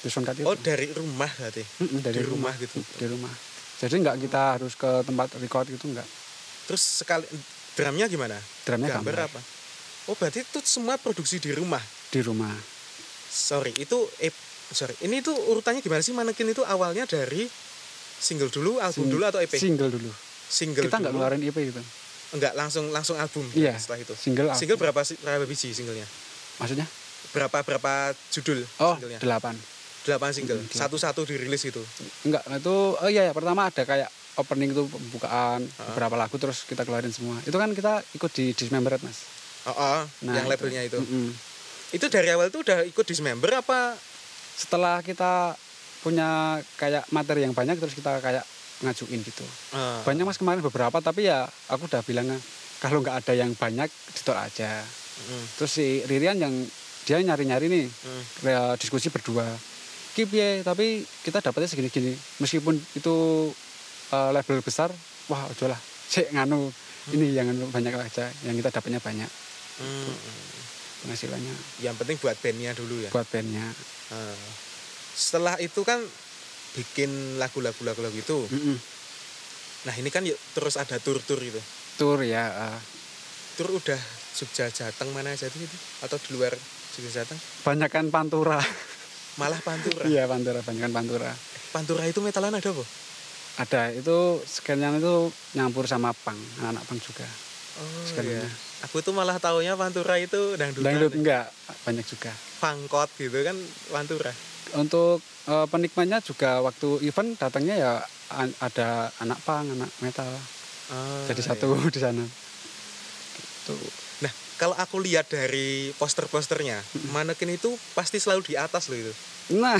H: dari soundcard itu Hmm.
A: Oh, dari rumah berarti.
H: Mm-mm, dari
A: di rumah gitu.
H: di rumah jadi nggak kita harus ke tempat record gitu nggak
A: Terus sekali drumnya gimana?
H: drumnya
A: Gambar,
H: gambar
A: apa? Oh, berarti itu semua produksi di rumah.
H: di rumah
A: Sorry, itu eh sorry. Ini tuh urutannya gimana sih manekin itu awalnya dari single dulu, album
H: Sing-
A: dulu atau EP?
H: single dulu
A: single
H: kita nggak
A: dulu.
H: ngeluarin EP gitu
A: Enggak, langsung langsung album
H: Iya.
A: setelah itu.
H: single album.
A: Single berapa sih- berapa biji singlenya?
H: maksudnya
A: Berapa berapa judul
H: oh
A: singlenya?
H: delapan
A: Delapan single.
H: Mm, delapan.
A: Satu-satu dirilis gitu.
H: Enggak, itu oh iya ya pertama ada kayak opening itu pembukaan
A: Ah.
H: beberapa lagu terus kita keluarin semua. Itu kan kita ikut di Dismembered, Mas.
A: Oh, oh,
H: Nah,
A: yang
H: itu.
A: labelnya itu.
H: Mm-mm.
A: Itu dari awal tuh udah ikut dismember apa?
H: Setelah kita punya kayak materi yang banyak terus kita kayak ngajuin gitu.
A: Eh,
H: Banyak Mas kemarin beberapa tapi ya aku udah bilang kalau nggak ada yang banyak ditolak aja.
A: mm,
H: Terus si Ririan yang dia nyari-nyari nih
A: mm.
H: ya, diskusi berdua. Kip ya, tapi kita dapatnya segini-gini. Meskipun itu eh, label besar, wah udah lah. Cek nganu, ini yang nganu banyak aja, yang kita dapatnya banyak
A: Hmm, hmm.
H: penghasilannya
A: yang penting buat bandnya dulu ya.
H: buat bandnya.
A: Eh, setelah itu kan bikin lagu-lagu lagu-lagu itu.
H: Mm-mm.
A: Nah ini kan yuk, terus ada tur-tur gitu.
H: Tour ya, eh,
A: Tur udah Jogja Jateng mana aja tuh itu? gitu? Atau di luar Jogja Jateng?
H: banyakan pantura.
A: Malah Pantura.
H: Iya pantura, banyakan pantura.
A: Pantura itu metalan ada apa?
H: Ada itu skenanya itu nyampur sama pang, anak-anak pang juga.
A: Oh
H: Skenanya.
A: iya. Aku tuh malah taunya Pantura itu dangdutan.
H: Dangdut enggak, banyak juga.
A: Pangkot gitu kan Pantura.
H: untuk eh, penikmatnya juga waktu event datangnya ya an- ada anak pang, anak metal.
A: Ah,
H: jadi
A: iya.
H: satu *laughs* di sana. Gitu.
A: Nah, kalau aku lihat dari poster-posternya, manekin itu pasti selalu di atas loh itu.
H: Nah,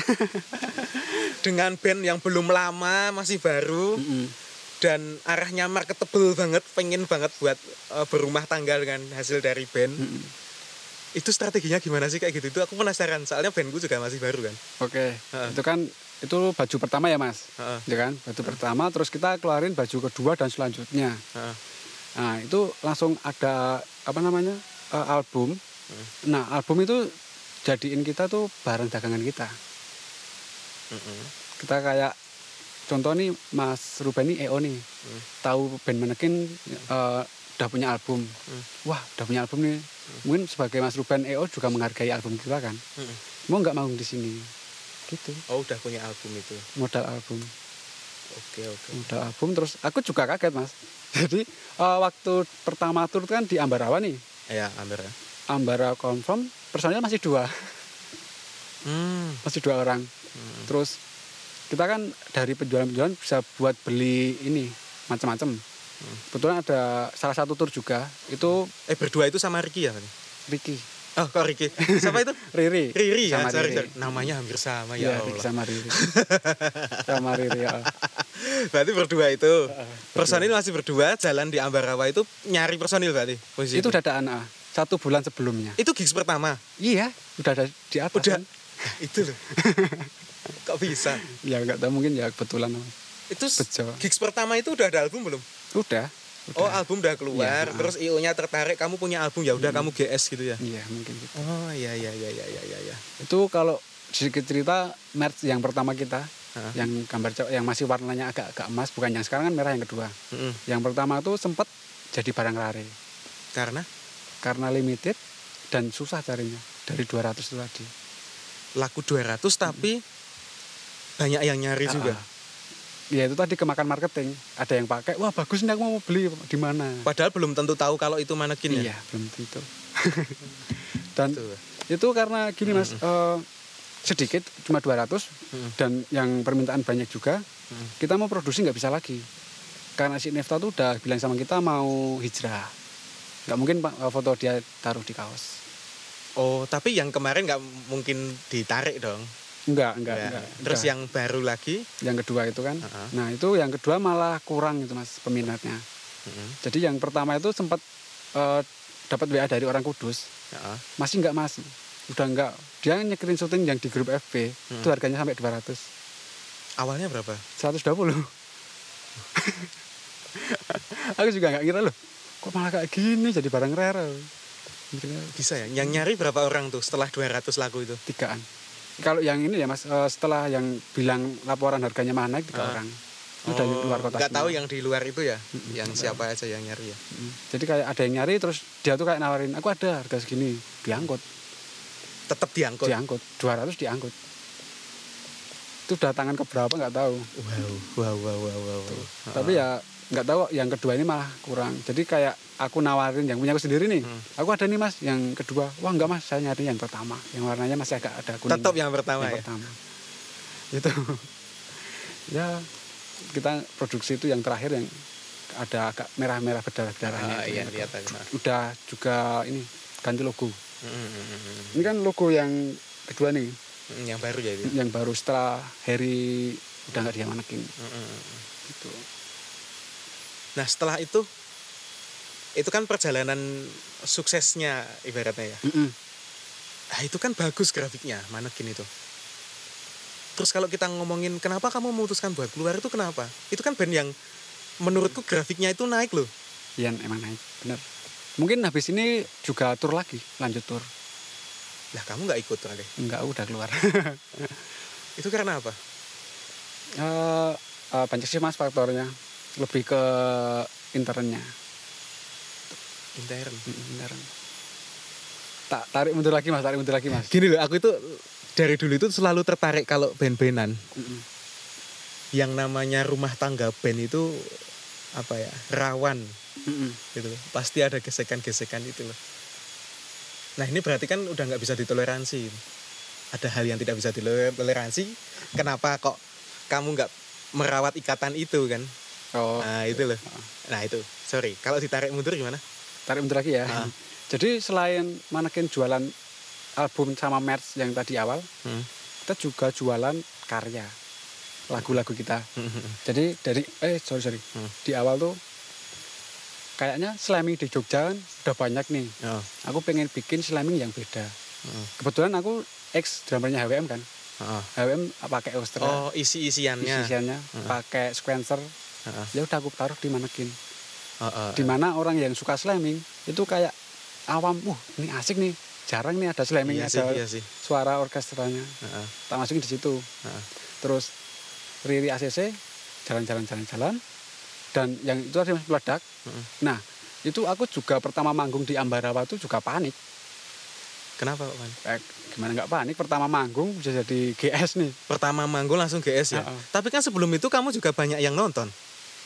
A: Dengan band yang belum lama, masih baru
H: mm-mm.
A: dan arahnya marketable banget, pengen banget buat eh, berumah tangga dengan hasil dari band.
H: Mm-mm.
A: Itu strateginya gimana sih kayak gitu? Itu aku penasaran, soalnya bandku juga masih baru kan.
H: oke.
A: Heeh.
H: Itu kan itu baju pertama ya mas,
A: Heeh.
H: ya kan? Baju pertama, terus kita keluarin baju kedua dan selanjutnya.
A: Heeh.
H: Nah itu langsung ada apa namanya eh, album. Nah album itu jadiin kita tuh barang dagangan kita.
A: Mm-mm.
H: kita kayak contoh nih Mas Ruben nih EO nih tahu band Manekin eh, udah punya album wah udah punya album nih mungkin sebagai Mas Ruben EO juga menghargai album kita kan
A: Mm-mm.
H: mau nggak mau di sini gitu
A: Oh, udah punya album itu.
H: modal album
A: Oke, oke.
H: modal album terus aku juga kaget Mas *laughs* jadi eh, waktu pertama tur kan di Ambarawa nih
A: Ya, Amber. ya.
H: Ambara confirm personil masih dua *laughs*
A: Hmm.
H: masih dua orang terus kita kan dari penjualan-penjualan bisa buat beli ini macam-macam
A: Hmm.
H: kebetulan ada salah satu tur juga itu
A: Eh berdua itu sama Ricky ya? Fani?
H: Ricky
A: Oh, kok
H: *laughs*
A: Ricky? Siapa itu?
H: Riri
A: Riri ya,
H: sama
A: sorry,
H: Riri
A: sorry. Namanya hampir sama
H: ya,
A: ya, Allah.
H: Ricky sama
A: *laughs*
H: Riri sama Riri ya
A: Berarti berdua itu. Personil masih berdua, jalan di Ambarawa itu nyari personil berarti. posisi
H: itu udah ada anak satu bulan sebelumnya
A: itu gigs pertama.
H: iya udah ada di atas
A: Udah.
H: kan? *laughs*
A: Nah, itu loh. Kok bisa?
H: ya nggak tahu mungkin ya kebetulan
A: Itu s-
H: Bejo.
A: gigs pertama itu udah ada album belum?
H: Udah. udah.
A: Oh, album udah keluar,
H: Iya, ah.
A: terus IO-nya tertarik kamu punya album ya udah kamu GS gitu ya.
H: Iya mungkin. gitu.
A: Oh, iya iya iya iya iya iya. iya.
H: Itu kalau sedikit cerita merch yang pertama kita
A: Ah.
H: yang gambar cowok yang masih warnanya agak-agak emas bukan yang sekarang kan merah yang kedua.
A: Mm-mm.
H: Yang pertama tuh sempet jadi barang rare
A: Karena
H: karena limited dan susah carinya dari 200 itu tadi.
A: laku 200 tapi banyak yang nyari
H: Hmm. Ah,
A: juga.
H: ah. Ya itu tadi kemakan marketing. Ada yang pakai, wah bagus nih aku mau beli di mana.
A: Padahal belum tentu tahu kalau itu manekin ya. Gitu.
H: Iya, belum tentu. *laughs* dan
A: Tuh.
H: itu karena gini Mas,
A: Hmm.
H: eh, sedikit cuma 200
A: Mm.
H: dan yang permintaan banyak juga.
A: Hmm.
H: Kita mau produksi nggak bisa lagi. Karena si Nefta tuh udah bilang sama kita mau hijrah. Nggak mungkin Pak, eh, foto dia taruh di kaos.
A: Oh, tapi yang kemarin nggak mungkin ditarik dong.
H: Enggak, enggak,
A: Ya.
H: enggak.
A: Terus
H: Udah.
A: yang baru lagi,
H: yang kedua itu kan.
A: Heeh.
H: Nah, itu yang kedua malah kurang itu Mas peminatnya.
A: Mm-mm.
H: Jadi yang pertama itu sempat eh, dapat WA dari orang Kudus.
A: Heeh.
H: masih nggak mas udah nggak dia nyekirin syuting yang di grup FB
A: Hmm.
H: itu harganya sampai 200
A: awalnya berapa?
H: 120 aku juga nggak kira loh kok malah kayak gini jadi barang rare Mikirnya
A: Bisa ya? Yang nyari berapa orang tuh setelah 200 laku itu?
H: tigaan kalau yang ini ya mas eh, setelah yang bilang laporan harganya mahal naik tiga
A: Ah. Oh,
H: orang Itu dari luar kota
A: Nggak
H: semua.
A: tahu yang di luar itu ya? Yang siapa aja yang nyari ya?
H: Mm. jadi kayak ada yang nyari terus dia tuh kayak nawarin aku ada harga segini diangkut
A: Tetap diangkut.
H: diangkut 200 diangkut itu udah tangan keberapa nggak tahu
A: Wow, wow, wow, wow, wow.
H: tapi ya nggak tahu yang kedua ini malah kurang jadi kayak aku nawarin yang punya aku sendiri nih
A: Hmm.
H: aku ada nih mas yang kedua wah nggak mas saya nyari yang pertama yang warnanya masih agak ada kuning
A: Tetap yang pertama
H: Yang
A: ya.
H: pertama itu *laughs* ya kita produksi itu yang terakhir yang ada agak merah-merah berdarah-darahnya
A: Ah,
H: itu
A: iya,
H: yang
A: lihat
H: kedua.
A: tadi, Mas.
H: udah juga ini ganti logo
A: Mm, mm, mm, mm.
H: ini kan logo yang kedua nih
A: Mm, Yang baru ya itu.
H: yang baru setelah Harry udah nggak dia manekin
A: Mm, mm, mm.
H: gitu
A: Nah setelah itu, itu kan perjalanan suksesnya ibaratnya ya.
H: Mm-mm.
A: Nah, itu kan bagus grafiknya, manekin itu. Terus kalau kita ngomongin kenapa kamu memutuskan buat keluar itu kenapa? Itu kan band yang menurutku grafiknya itu naik loh.
H: Iya emang naik, bener. Mungkin habis ini juga tur lagi, lanjut tur.
A: Lah kamu nggak ikut kali.
H: Enggak, udah keluar. *laughs*
A: Itu karena apa?
H: Eh, eh, banyak sih mas faktornya, lebih ke internnya.
A: Intern.
H: Mm, Intern. Tak tarik mundur lagi mas, tarik mundur lagi
A: *laughs*
H: mas.
A: Gini loh, aku itu dari dulu itu selalu tertarik kalau band-bandan.
H: Mm-mm.
A: Yang namanya rumah tangga band itu apa ya rawan
H: Mm-mm.
A: gitu loh. Pasti ada gesekan-gesekan itu loh. Nah ini berarti kan udah nggak bisa ditoleransi. Ada hal yang tidak bisa ditoleransi. Kenapa kok kamu nggak merawat ikatan itu kan?
H: Oh,
A: Nah itu loh. Nah itu. Sorry. Kalau ditarik mundur
H: *laughs*
A: gimana?
H: tarik mundur lagi ya.
A: Ah.
H: Jadi selain manekin jualan album sama merch yang tadi awal,
A: Hmm.
H: kita juga jualan karya lagu-lagu kita. Jadi dari eh sorry sorry
A: Hmm.
H: di awal tuh kayaknya slamming di Jogja kan udah banyak nih.
A: Oh.
H: Aku pengen bikin slamming yang beda.
A: Hmm.
H: Kebetulan aku ex drummernya HWM kan.
A: Oh.
H: HWM pakai Austra,
A: Oh Hmm. isi-isiannya.
H: isiannya pakai sequencer.
A: Heeh.
H: Ya udah aku taruh di manekin.
A: Oh, oh.
H: Di mana orang yang suka slamming itu kayak awam, uh ini asik nih. Jarang nih ada slamming,
A: Iya sih,
H: ada
A: iya sih.
H: suara orkestranya.
A: Heeh.
H: tak masukin di situ.
A: Heeh.
H: Terus Riri ACC jalan-jalan jalan-jalan dan yang itu ada meledak.
A: Heeh.
H: Nah, itu aku juga pertama manggung di Ambarawa itu juga panik.
A: Kenapa Pak Man?
H: Eh, gimana nggak panik? Pertama manggung bisa jadi GS nih.
A: Pertama manggung langsung GS ya.
H: Heeh.
A: Tapi kan sebelum itu kamu juga banyak yang nonton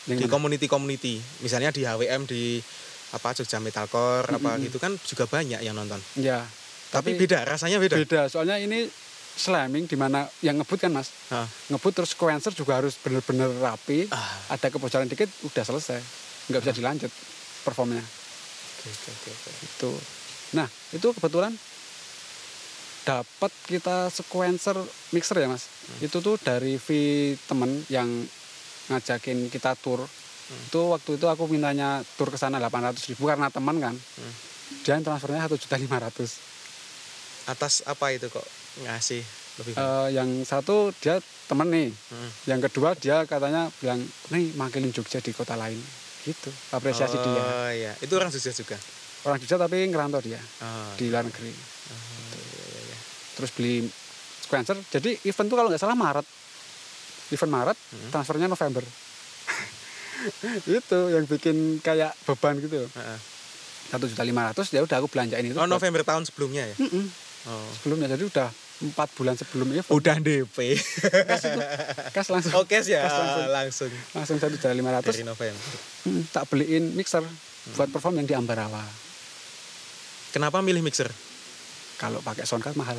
A: di
H: Yang mana?
A: community-community. Misalnya di HWM di apa Jogja Metalcore apa gitu kan juga banyak yang nonton.
H: ya,
A: Tapi,
H: Tapi-
A: beda rasanya beda.
H: beda. Soalnya ini slamming di mana yang ngebut kan mas.
A: Heeh.
H: Ngebut terus sequencer juga harus bener-bener rapi.
A: Ah.
H: Ada kebocoran dikit udah selesai. Nggak bisa dilanjut performnya.
A: Oke, oke, oke, oke.
H: itu nah itu kebetulan dapat kita sequencer mixer ya mas
A: Hmm.
H: itu tuh dari V temen yang ngajakin kita tour
A: Hmm.
H: itu waktu itu aku mintanya tour ke sana 800 ribu karena teman kan
A: Hmm.
H: dia yang transfernya 1.500.000 juta
A: Atas apa itu kok ngasih lebih banyak.
H: Eh, yang satu dia temen
A: Iya.
H: nih
A: Hmm.
H: yang kedua dia katanya bilang nih makin Jogja di kota lain gitu apresiasi dia
A: Oh iya, itu orang Jogja juga.
H: orang Jogja tapi ngerantau dia
A: Oh,
H: di luar negeri Gitu. terus beli sequencer jadi event tuh kalau nggak salah Maret event Maret
A: Hmm.
H: transfernya November *laughs* itu yang bikin kayak beban gitu
A: Heeh.
H: satu juta lima ratus ya udah aku belanjain itu
A: Oh,
H: buat-
A: November tahun sebelumnya ya.
H: Mm-mm,
A: Oh.
H: sebelumnya jadi udah empat bulan sebelum event
A: Udah DP.
H: kas langsung
A: Oke sih ya,
H: Kas langsung.
A: langsung
H: langsung satu juta lima ratus
A: dari November. Hmm.
H: Hmm, tak beliin mixer buat perform yang di Ambarawa.
A: Kenapa milih mixer?
H: Kalau pakai soundcard mahal.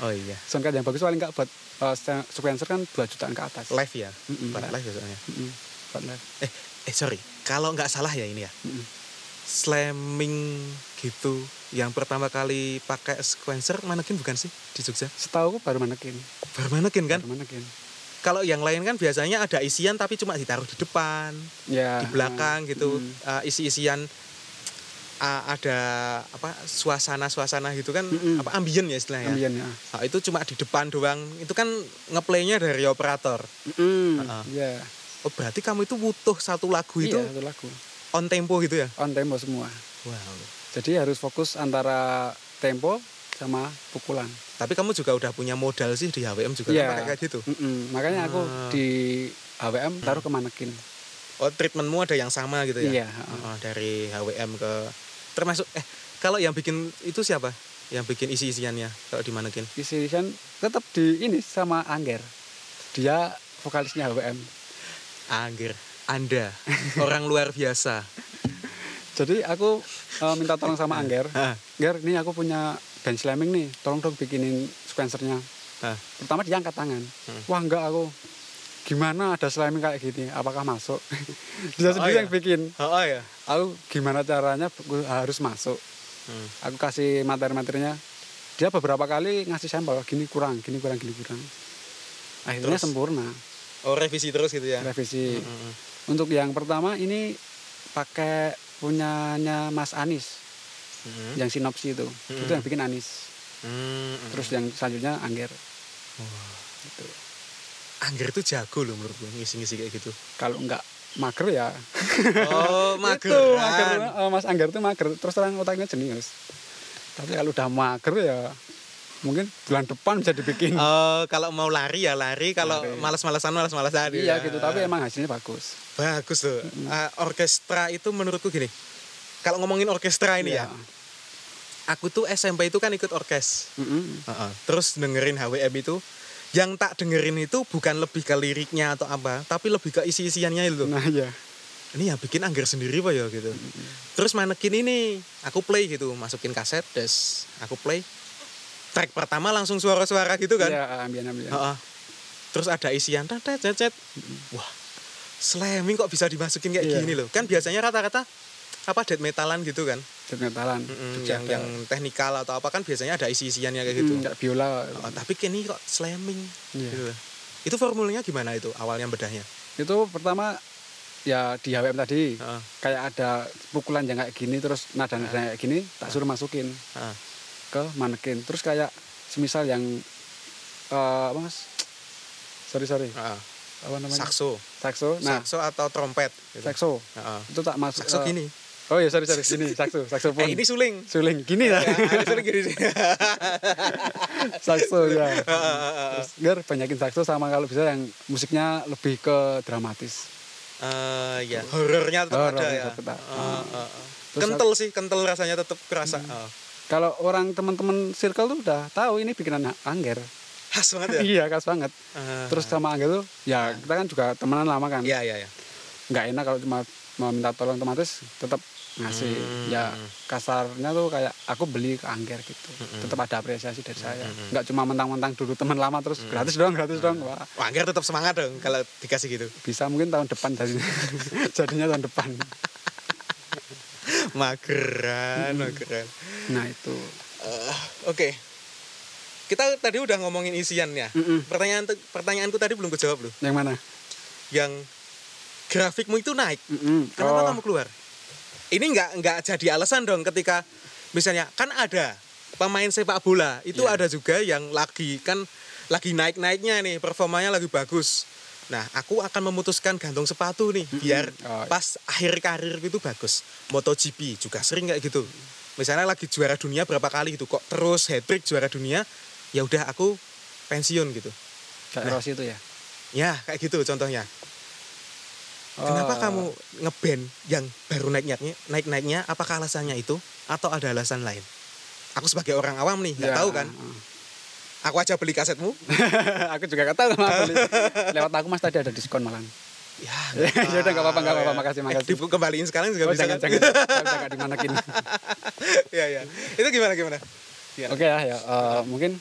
A: Oh iya,
H: soundcard yang bagus paling nggak buat uh, se- sequencer kan 2 jutaan ke atas.
A: live ya.
H: Mm-mm.
A: Buat live ya soalnya.
H: Mm-mm, buat live.
A: Eh sorry, kalau nggak salah ya ini ya.
H: Mm-mm.
A: Slamming gitu yang pertama kali pakai sequencer manekin bukan sih di Jogja?
H: Setahu aku baru manekin.
A: Baru manekin kan?
H: Baru manekin.
A: Kalau yang lain kan biasanya ada isian tapi cuma ditaruh di depan,
H: Ya.
A: di belakang gitu.
H: mm.
A: Eh, isi-isian eh, ada apa suasana-suasana gitu kan
H: Mm-mm.
A: apa ambien ya
H: eh,
A: istilahnya.
H: Ambien ya.
A: Ah, itu cuma di depan doang. Itu kan ngeplaynya dari operator.
H: Mm-mm,
A: Ah.
H: Iya.
A: Oh, berarti kamu itu butuh satu lagu Oh, itu
H: Itu satu lagu.
A: on tempo gitu ya?
H: On tempo semua.
A: Wow.
H: Jadi harus fokus antara tempo sama pukulan.
A: Tapi kamu juga udah punya modal sih di HWM juga kan
H: Iya.
A: pakai kayak gitu.
H: Mm-mm, Makanya aku
A: Ah.
H: di HWM taruh ke manekin.
A: Oh, treatmentmu ada yang sama gitu ya?
H: Iya. ah.
A: Oh, dari HWM ke termasuk eh kalau yang bikin itu siapa? Yang bikin isi-isiannya kalau di manekin?
H: Isian tetap di ini sama Angger. Dia vokalisnya HWM.
A: Anggir,
H: *laughs*
A: Anda orang luar biasa.
H: Jadi aku eh, minta tolong sama
A: *laughs*
H: Angger.
A: Hah.
H: Angger, ini aku punya band slamming nih. Tolong dong bikinin sequencernya.
A: Hah.
H: Pertama dia angkat tangan.
A: Hmm.
H: Wah enggak aku. Gimana ada slamming kayak gini? Apakah masuk? *laughs* dia
A: Oh, iya.
H: sendiri yang bikin.
A: Oh, ya.
H: Aku gimana caranya gue harus masuk.
A: Hmm.
H: Aku kasih materi-materinya. Dia beberapa kali ngasih sampel. Gini kurang, gini kurang, gini kurang.
A: Terus?
H: Akhirnya sempurna.
A: Oh, revisi terus gitu ya. hmm.
H: Revisi.
A: Mm-mm.
H: Untuk yang pertama ini pakai punyanya Mas Anis.
A: Mm-mm.
H: yang sinopsi itu
A: Hmm.
H: itu yang bikin Anis
A: Mm-mm.
H: terus yang selanjutnya Angger
A: Angger tuh jago loh menurut gue ngisi-ngisi kayak
H: *laughs*
A: gitu.
H: kalau enggak mager ya *laughs*
A: Oh,
H: itu mager
A: mageran.
H: Eh, Mas Angger tuh mager terus terang otaknya jenius tapi kalau udah mager ya mungkin bulan depan bisa dibikin
A: Oh, kalau mau lari ya lari, kalau
H: Lari.
A: malas-malasan malas-malasan.
H: iya gitu tapi emang hasilnya bagus
A: bagus loh. Ah, orkestra itu menurutku gini. Kalau ngomongin orkestra ini
H: Iya.
A: ya, aku tuh SMP itu kan ikut orkes.
H: Mm-mm.
A: Heeh. Terus dengerin HWM itu, yang tak dengerin itu bukan lebih ke liriknya atau apa, tapi lebih ke isi-isiannya itu.
H: nah iya
A: Ini yang bikin angger sendiri pak ya gitu. Terus manekin ini, aku play gitu, masukin kaset, des, aku play. Track pertama langsung suara-suara gitu kan.
H: iya ambien ambien
A: Heeh. Terus ada isian tet tet, tet tet. Wah. Slamming kok bisa dimasukin kayak
H: Iya.
A: gini loh. Kan biasanya rata-rata apa dead metalan gitu kan.
H: Death metalan
A: Mm-mm,
H: Jogja
A: yang
H: ada.
A: yang teknikal atau apa kan biasanya ada isi-isiannya kayak gitu.
H: Mm, enggak biola
A: Oh, tapi kini kok slamming
H: Iya.
A: gitu loh. Itu formulanya gimana itu awalnya bedahnya?
H: itu pertama ya di HWM tadi
A: Heeh.
H: kayak ada pukulan yang kayak gini terus
A: Ah.
H: nada-nada kayak gini tak suruh masukin
A: Heeh.
H: ke manekin terus kayak semisal yang eh apa mas sorry sorry
A: Heeh.
H: apa namanya
A: Sakso,
H: sakso nah
A: sakso atau trompet gitu.
H: sakso
A: Heeh.
H: itu tak masuk
A: Sakso
H: eh,
A: gini.
H: oh iya sorry sorry
A: *laughs*
H: gini sakso sakso
A: Eh ini
H: *laughs*
A: suling.
H: suling gini
A: *laughs* Ya,
H: ya
A: ini suling gini. sih.
H: sakso ya
A: Heeh, heeh, heeh.
H: terus biar banyakin sakso sama kalau bisa yang musiknya lebih ke dramatis
A: Eh ya, horornya tetap ada
H: Horornya
A: ya. Eh,
H: tetap ada.
A: eh, eh.
H: Terus Mm.
A: Kental sih, kental rasanya tetap kerasa. Eh,
H: kalau orang teman-teman circle tuh udah tahu ini bikinan angger
A: khas banget ya.
H: iya khas banget
A: Eh, Nah.
H: terus sama angger tuh ya kita kan juga temenan lama kan
A: Iya, iya, iya.
H: nggak enak kalau cuma mau minta tolong otomatis tetap ngasih
A: Hmm.
H: ya kasarnya tuh kayak aku beli ke angker gitu
A: Hmm.
H: tetap ada apresiasi dari saya nggak cuma mentang-mentang dulu teman lama terus
A: Hmm.
H: gratis dong gratis dong wah
A: Wah, Angger tetap semangat dong kalau dikasih gitu.
H: bisa mungkin tahun depan jadi *laughs* jadinya tahun depan
A: Mageran, mageran.
H: nah itu
A: Eh, Oke. Kita tadi udah ngomongin isian ya.
H: Mm-mm.
A: Pertanyaan pertanyaanku tadi belum kejawab loh.
H: yang mana
A: Yang grafikmu itu naik.
H: Mm-mm.
A: Kenapa
H: Oh,
A: kamu keluar? Ini nggak nggak jadi alasan dong ketika
H: Iya.
A: misalnya kan ada pemain sepak bola itu ada juga yang lagi kan lagi naik-naiknya nih, performanya lagi bagus. Nah, aku akan memutuskan gantung sepatu nih biar
H: Oh, iya.
A: pas akhir karir itu bagus. MotoGP juga sering kayak gitu. Misalnya lagi juara dunia berapa kali gitu kok terus hat trick juara dunia, ya udah aku pensiun gitu.
H: Kayak Rossi itu ya.
A: Ya, kayak gitu contohnya. Kenapa
H: Oh,
A: kamu ngeband yang baru naik naiknya naik naiknya? Apakah alasannya itu atau ada alasan lain? Aku sebagai orang awam nih nggak
H: ya,
A: tahu kan.
H: heeh.
A: Aku aja beli kasetmu.
H: *laughs* aku juga nggak tahu sama beli. Lewat aku Mas tadi ada diskon malah.
A: Ya,
H: Ya udah, nggak apa-apa, nggak apa-apa. Makasih,
A: Eh,
H: makasih.
A: dikembaliin sekarang juga
H: Oh,
A: bisa
H: jangan
A: *laughs* kan?
H: jangan. Saya udah nggak dimanakin.
A: ya, ya. Itu gimana gimana? Ya.
H: Oke ya, ya. eh, mungkin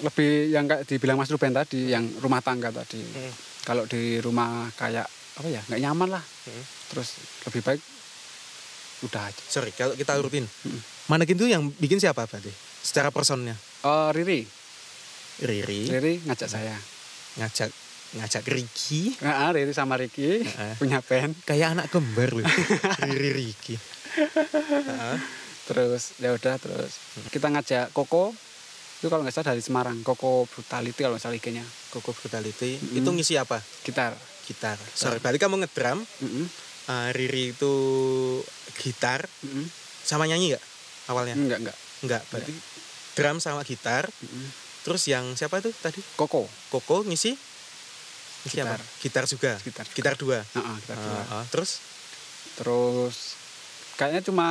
H: lebih yang kayak dibilang Mas Ruben tadi, yang rumah tangga tadi.
A: Hmm.
H: Kalau di rumah kayak apa ya, nggak nyaman lah.
A: Hmm.
H: Terus lebih baik udah aja.
A: Sorry, kalau kita urutin.
H: Hmm.
A: Manekin tuh yang bikin siapa berarti? Secara personnya.
H: Eh, Riri,
A: Hmm? Riri
H: Riri ngajak saya.
A: ngajak ngajak Riki
H: Nah, Riri sama Riki
A: Heeh.
H: *laughs* punya band.
A: kayak anak kembar
H: *laughs*
A: loh. Riri Riki. Heeh.
H: Terus ya udah terus
A: Hmm.
H: kita ngajak Koko. Itu kalau nggak salah dari Semarang, Koko Brutality kalau nggak salah IG-nya,
A: Koko Brutality
H: Hmm.
A: itu ngisi apa?
H: gitar.
A: Gitar. Sorry, berarti kamu ngedrum,
H: Mm-mm,
A: eh, Riri itu gitar
H: mm-mm.
A: sama nyanyi nggak awalnya?
H: Enggak, enggak.
A: Enggak, Ya. berarti drum sama gitar.
H: Mm-mm.
A: Terus yang siapa tuh tadi?
H: Koko
A: Koko ngisi ngisi
H: Gitar.
A: apa? Gitar juga.
H: gitar.
A: Gitar Ah. dua.
H: Heeh, gitar dua.
A: Heeh, terus
H: Terus kayaknya cuma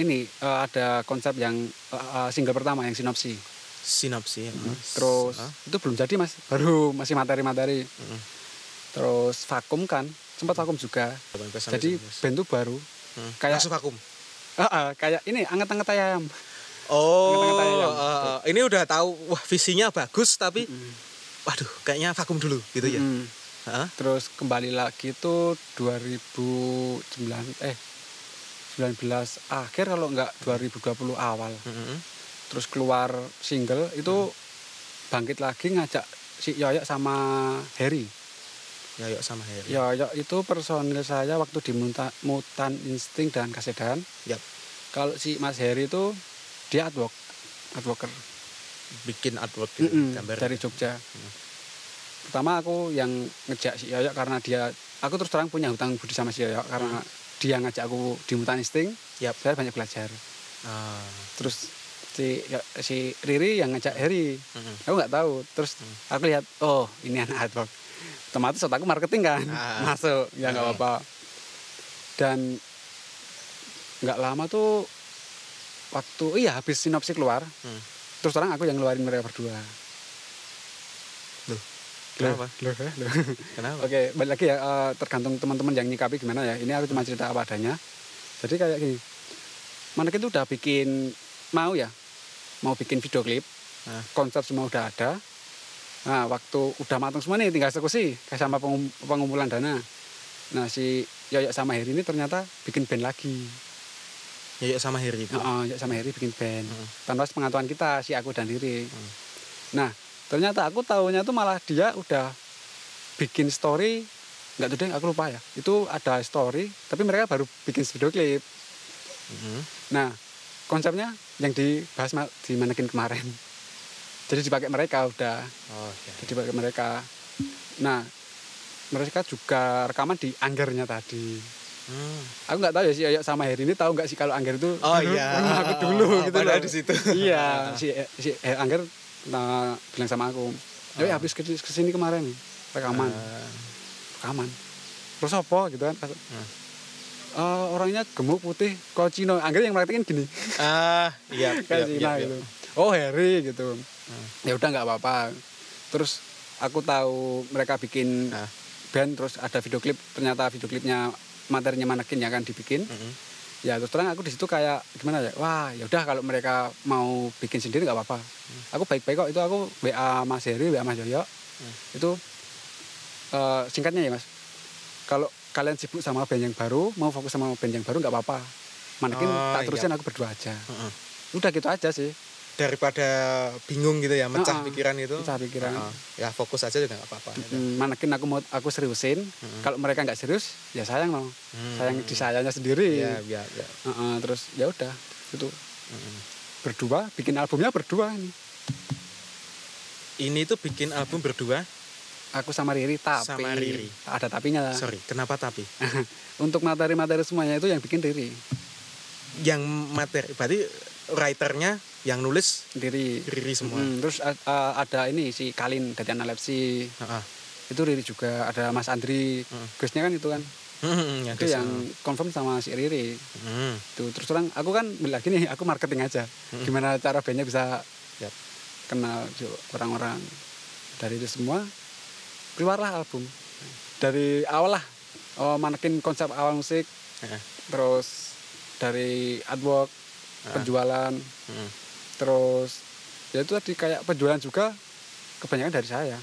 H: ini eh, ada konsep yang eh, eh, single pertama yang sinopsi.
A: sinopsi. heeh.
H: Hmm. Terus
A: Heeh,
H: itu belum jadi mas, baru masih materi-materi.
A: Mm-mm.
H: Terus vakum kan, sempat vakum juga.
A: 18 sampai
H: Jadi
A: 19.
H: band tuh baru.
A: Heeh,
H: kayak-
A: langsung vakum.
H: Ah, ah, kayak ini anget-anget ayam.
A: Oh,
H: Ngeteng-ngeteng ayam.
A: heeh, ini udah tahu wah visinya bagus tapi waduh kayaknya vakum dulu gitu ya.
H: Mm.
A: Heeh.
H: Terus kembali lagi itu 2009 eh 19 akhir kalau enggak 2020 awal.
A: Heeh.
H: Terus keluar single itu
A: Hmm.
H: bangkit lagi ngajak si Yoyok sama Harry.
A: Ya yuk sama Harry.
H: Yoyok itu personil saya waktu di Muta- Mutan Insting dan Kasedan.
A: Yap.
H: Kalau si Mas Harry itu dia artwork, artworker
A: Bikin artwork gitu,
H: Mm-mm,
A: gambar.
H: dari Jogja. Pertama aku yang ngejak si Yoyok karena dia, aku terus terang punya hutang budi sama si Yoyok karena dia ngajak aku di Mutan Insting.
A: Mm. Yap.
H: Saya banyak belajar.
A: Ah,
H: Terus si si Riri yang ngajak Harry,
A: heeh.
H: aku nggak tahu. Terus
A: Mm.
H: aku lihat, oh ini anak artwork. Otomatis otakku marketing kan,
A: Ah.
H: *laughs* masuk ya nggak
A: Ah.
H: apa-apa. Dan nggak lama tuh waktu iya habis sinopsi keluar,
A: Hmm.
H: terus terang aku yang ngeluarin mereka berdua.
A: Loh,
H: Loh,
A: kenapa?
H: loh, eh, loh.
A: Kenapa?
H: Oke, balik lagi ya eh, tergantung teman-teman yang nyikapi gimana ya. Ini aku cuma cerita apa adanya. Jadi kayak gini. Manekin tuh udah bikin mau ya. Mau bikin video klip.
A: Nah.
H: Konsep semua udah ada. Nah, waktu udah matang semua nih tinggal eksekusi kayak sama pengum- pengumpulan dana. Nah, si Yoyok sama Heri ini ternyata bikin band lagi.
A: Ya yuk sama Harry itu.
H: Heeh, Yoyok sama Heri bikin band.
A: Heeh.
H: Tanpa pengetahuan kita, si aku dan Riri.
A: Heeh.
H: Nah, ternyata aku tahunya tuh malah dia udah bikin story nggak tuh deh aku lupa ya itu ada story tapi mereka baru bikin video klip
A: Heeh.
H: nah konsepnya yang dibahas ma- di manekin kemarin jadi dipakai mereka udah
A: Oh, ya.
H: jadi dipakai mereka nah mereka juga rekaman di anggernya tadi
A: Hmm.
H: aku nggak tahu ya si Yoyok sama Heri ini tahu nggak sih kalau angger itu
A: Oh,
H: dulu
A: iya.
H: rumah *laughs* aku dulu
A: Oh,
H: gitu
A: padahal
H: loh.
A: di situ. *laughs*
H: iya si si eh, angger nah, bilang sama aku Yoyok habis ke kesini kemarin rekaman
A: Oh. Ah, Hmm.
H: rekaman terus apa gitu kan Eh, orangnya gemuk putih kok Cino angger yang praktekin gini
A: Ah, iya,
H: *laughs*
A: iya,
H: kayak Cina
A: iya,
H: gitu
A: iya.
H: oh Harry gitu ya udah nggak apa-apa terus aku tahu mereka bikin
A: Ah.
H: band terus ada video klip ternyata video klipnya materinya manekin yang akan dibikin
A: Mm-mm.
H: ya terus terang aku di situ kayak gimana ya wah ya udah kalau mereka mau bikin sendiri nggak apa-apa
A: Hmm.
H: aku baik-baik kok itu aku wa mas Heri wa mas Yoyo itu eh, singkatnya ya mas kalau kalian sibuk sama band yang baru mau fokus sama band yang baru nggak apa-apa manekin
A: Oh, Hmm.
H: tak terusin aku berdua aja
A: Heeh.
H: udah gitu aja sih
A: Daripada bingung gitu ya, mecah
H: Heeh.
A: pikiran itu.
H: Mecah pikiran.
A: Heeh. Ya fokus aja juga nggak apa-apa. gitu.
H: Mm, manekin aku mau aku seriusin
A: Hmm.
H: kalau mereka nggak serius ya sayang loh sayang di sayanya sendiri
A: Iya, iya, iya.
H: Heeh, terus ya udah itu berdua bikin albumnya berdua ini
A: ini tuh bikin album berdua
H: Aku sama Riri tapi
A: Sama Riri.
H: ada tapinya.
A: sorry kenapa tapi
H: Untuk materi-materi semuanya itu yang bikin Riri.
A: yang materi berarti writernya yang nulis
H: Riri.
A: Riri semua
H: Mm, terus a- a- ada ini si Kalin dari Analepsi
A: Heeh. *laughs*
H: itu Riri juga ada Mas Andri
A: Mm.
H: guestnya kan itu kan
A: Hmm,
H: itu yang confirm sama si Riri
A: Hmm,
H: tuh terus terang aku kan balik lagi nih aku marketing aja
A: Mm.
H: gimana cara bandnya bisa
A: Yap.
H: kenal ju- orang-orang dari itu semua keluarlah album dari awal lah oh, manekin konsep awal musik
A: Heeh.
H: terus dari artwork
A: Heeh.
H: penjualan
A: hmm.
H: terus ya itu tadi kayak penjualan juga kebanyakan dari saya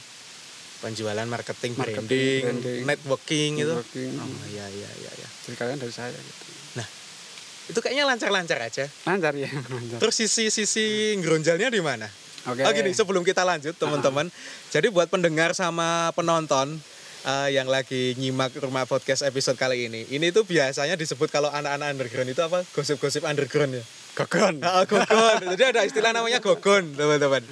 A: penjualan marketing,
H: Marketing,
A: branding,
H: branding.
A: networking itu
H: Networking, gitu.
A: oh iya iya iya iya.
H: mm, jadi kalian dari saya gitu.
A: itu kayaknya lancar-lancar aja
H: lancar ya lancar
A: terus sisi sisi ngeronjalnya di mana
H: oke
A: Oh gini, sebelum kita lanjut teman-teman. Jadi buat pendengar sama penonton eh, yang lagi nyimak Rumah Podcast episode kali ini. Ini tuh biasanya disebut kalau anak-anak underground itu apa? Gosip-gosip underground ya.
H: Gogon.
A: Ah, gogon. Jadi ada istilah namanya gogon, teman-teman.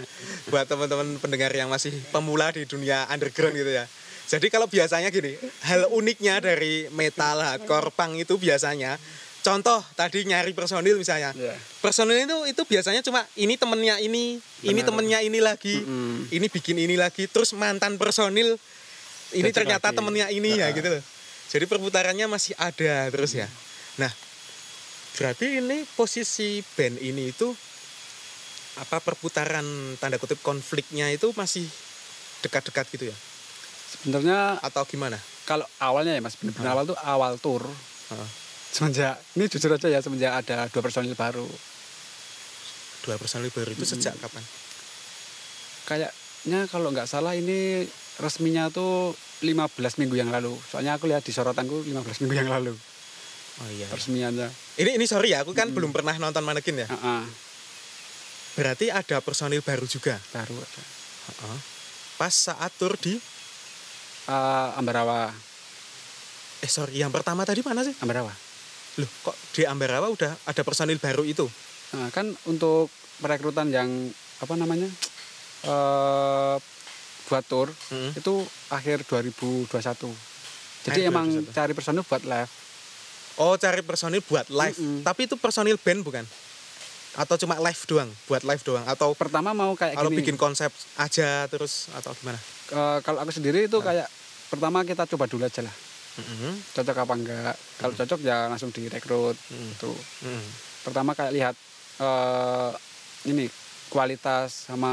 A: Buat teman-teman pendengar yang masih pemula di dunia underground gitu ya. Jadi kalau biasanya gini, hal uniknya dari metal hardcore punk itu biasanya contoh tadi nyari personil misalnya.
H: Iya.
A: Personil itu itu biasanya cuma ini temennya ini, ini
H: Benar.
A: temennya ini lagi,
H: Mm-mm.
A: ini bikin ini lagi, terus mantan personil ini
H: Jadi
A: ternyata
H: lagi.
A: temennya ini ya gitu loh. Jadi perputarannya masih ada terus ya. Nah, berarti ini posisi band ini itu apa perputaran tanda kutip konfliknya itu masih dekat-dekat gitu ya
H: sebenarnya
A: atau gimana?
H: kalau awalnya ya mas benar-benar awal tuh awal tur
A: Heeh.
H: semenjak ini jujur aja ya semenjak ada dua personil baru
A: Dua personil baru itu sejak kapan?
H: kayaknya kalau nggak salah ini resminya tuh 15 minggu yang lalu soalnya aku lihat di sorotanku 15 minggu yang lalu
A: Oh iya.
H: resminya
A: Ini ini sorry ya, aku kan
H: Mm-mm.
A: belum pernah nonton manekin ya.
H: Ah, ah,
A: Berarti ada personil baru juga.
H: baru ada
A: Pas saat tur di
H: Ah, Ambarawa
A: eh sorry yang pertama tadi mana sih?
H: Ambarawa
A: Loh kok di Ambarawa udah ada personil baru itu?
H: Nah, kan untuk perekrutan yang apa namanya eh buat tour
A: Mm-mm.
H: itu akhir 2021.
A: Hmm.
H: Jadi
A: Akhir
H: emang
A: 2021.
H: cari personil buat live.
A: Oh cari personil buat live.
H: Mm-mm.
A: Tapi itu personil band bukan? Atau cuma live doang? Buat live doang? Atau
H: Pertama mau kayak
A: kalau
H: gini.
A: bikin konsep aja terus atau gimana?
H: eh, kalau aku sendiri
A: Nah.
H: itu kayak pertama kita coba dulu aja lah.
A: Mm-mm.
H: Cocok apa enggak? Kalau
A: Hmm.
H: cocok ya langsung direkrut
A: Mm.
H: gitu.
A: Mm-mm.
H: Pertama kayak lihat eh ini kualitas sama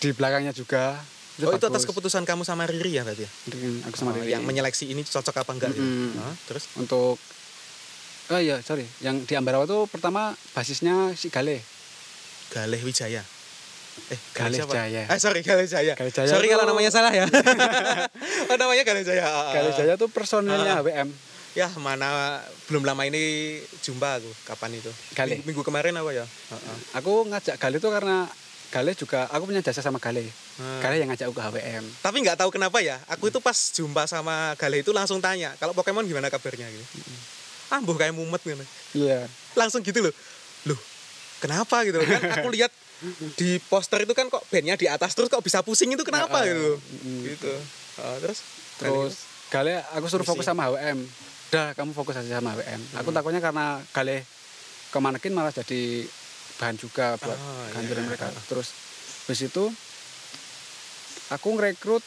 H: di belakangnya juga.
A: Oh itu atas
H: bagus.
A: keputusan kamu sama Riri ya tadi? ya?
H: aku sama
A: Oh,
H: Riri.
A: yang menyeleksi ini cocok apa enggak? gitu.
H: Mm-mm.
A: Ah, terus?
H: untuk oh iya sorry yang di Ambarawa tuh pertama basisnya si Gale
A: Galih Wijaya. Eh,
H: Galih
A: Galih siapa?
H: Jaya.
A: Eh, sorry, Galih Jaya.
H: Galih Jaya
A: sorry
H: tuh-
A: kalau namanya salah ya. oh, namanya *laughs* Galih Jaya. Ah, ah,
H: *laughs* Gale
A: ah.
H: Jaya tuh
A: Ah.
H: personelnya WM
A: Ya, mana belum lama ini jumpa aku. Kapan itu?
H: Galih.
A: Minggu, minggu kemarin apa ya? Ah, ah.
H: aku ngajak Gale tuh karena Gale juga aku punya jasa sama Gale
A: Hmm.
H: Gale yang ngajak aku ke HWM
A: Tapi nggak tahu kenapa ya, aku itu pas jumpa sama Galih itu langsung tanya, kalau Pokemon gimana kabarnya gitu. Ah, mbuh kayak mumet gitu.
H: iya
A: Langsung gitu loh. Loh, kenapa gitu loh. kan aku lihat di poster itu kan kok bandnya di atas terus kok bisa pusing itu kenapa
H: Ah, ah.
A: gitu loh.
H: Mm-mm.
A: Gitu. Ah, terus
H: terus Gale aku suruh fokus
A: Pusing.
H: sama HWM udah kamu fokus aja sama HWM aku
A: Hmm.
H: takutnya karena Gale kemanakin malah jadi bahan juga buat
A: Oh, iya.
H: kehancuran mereka terus habis itu aku ngerekrut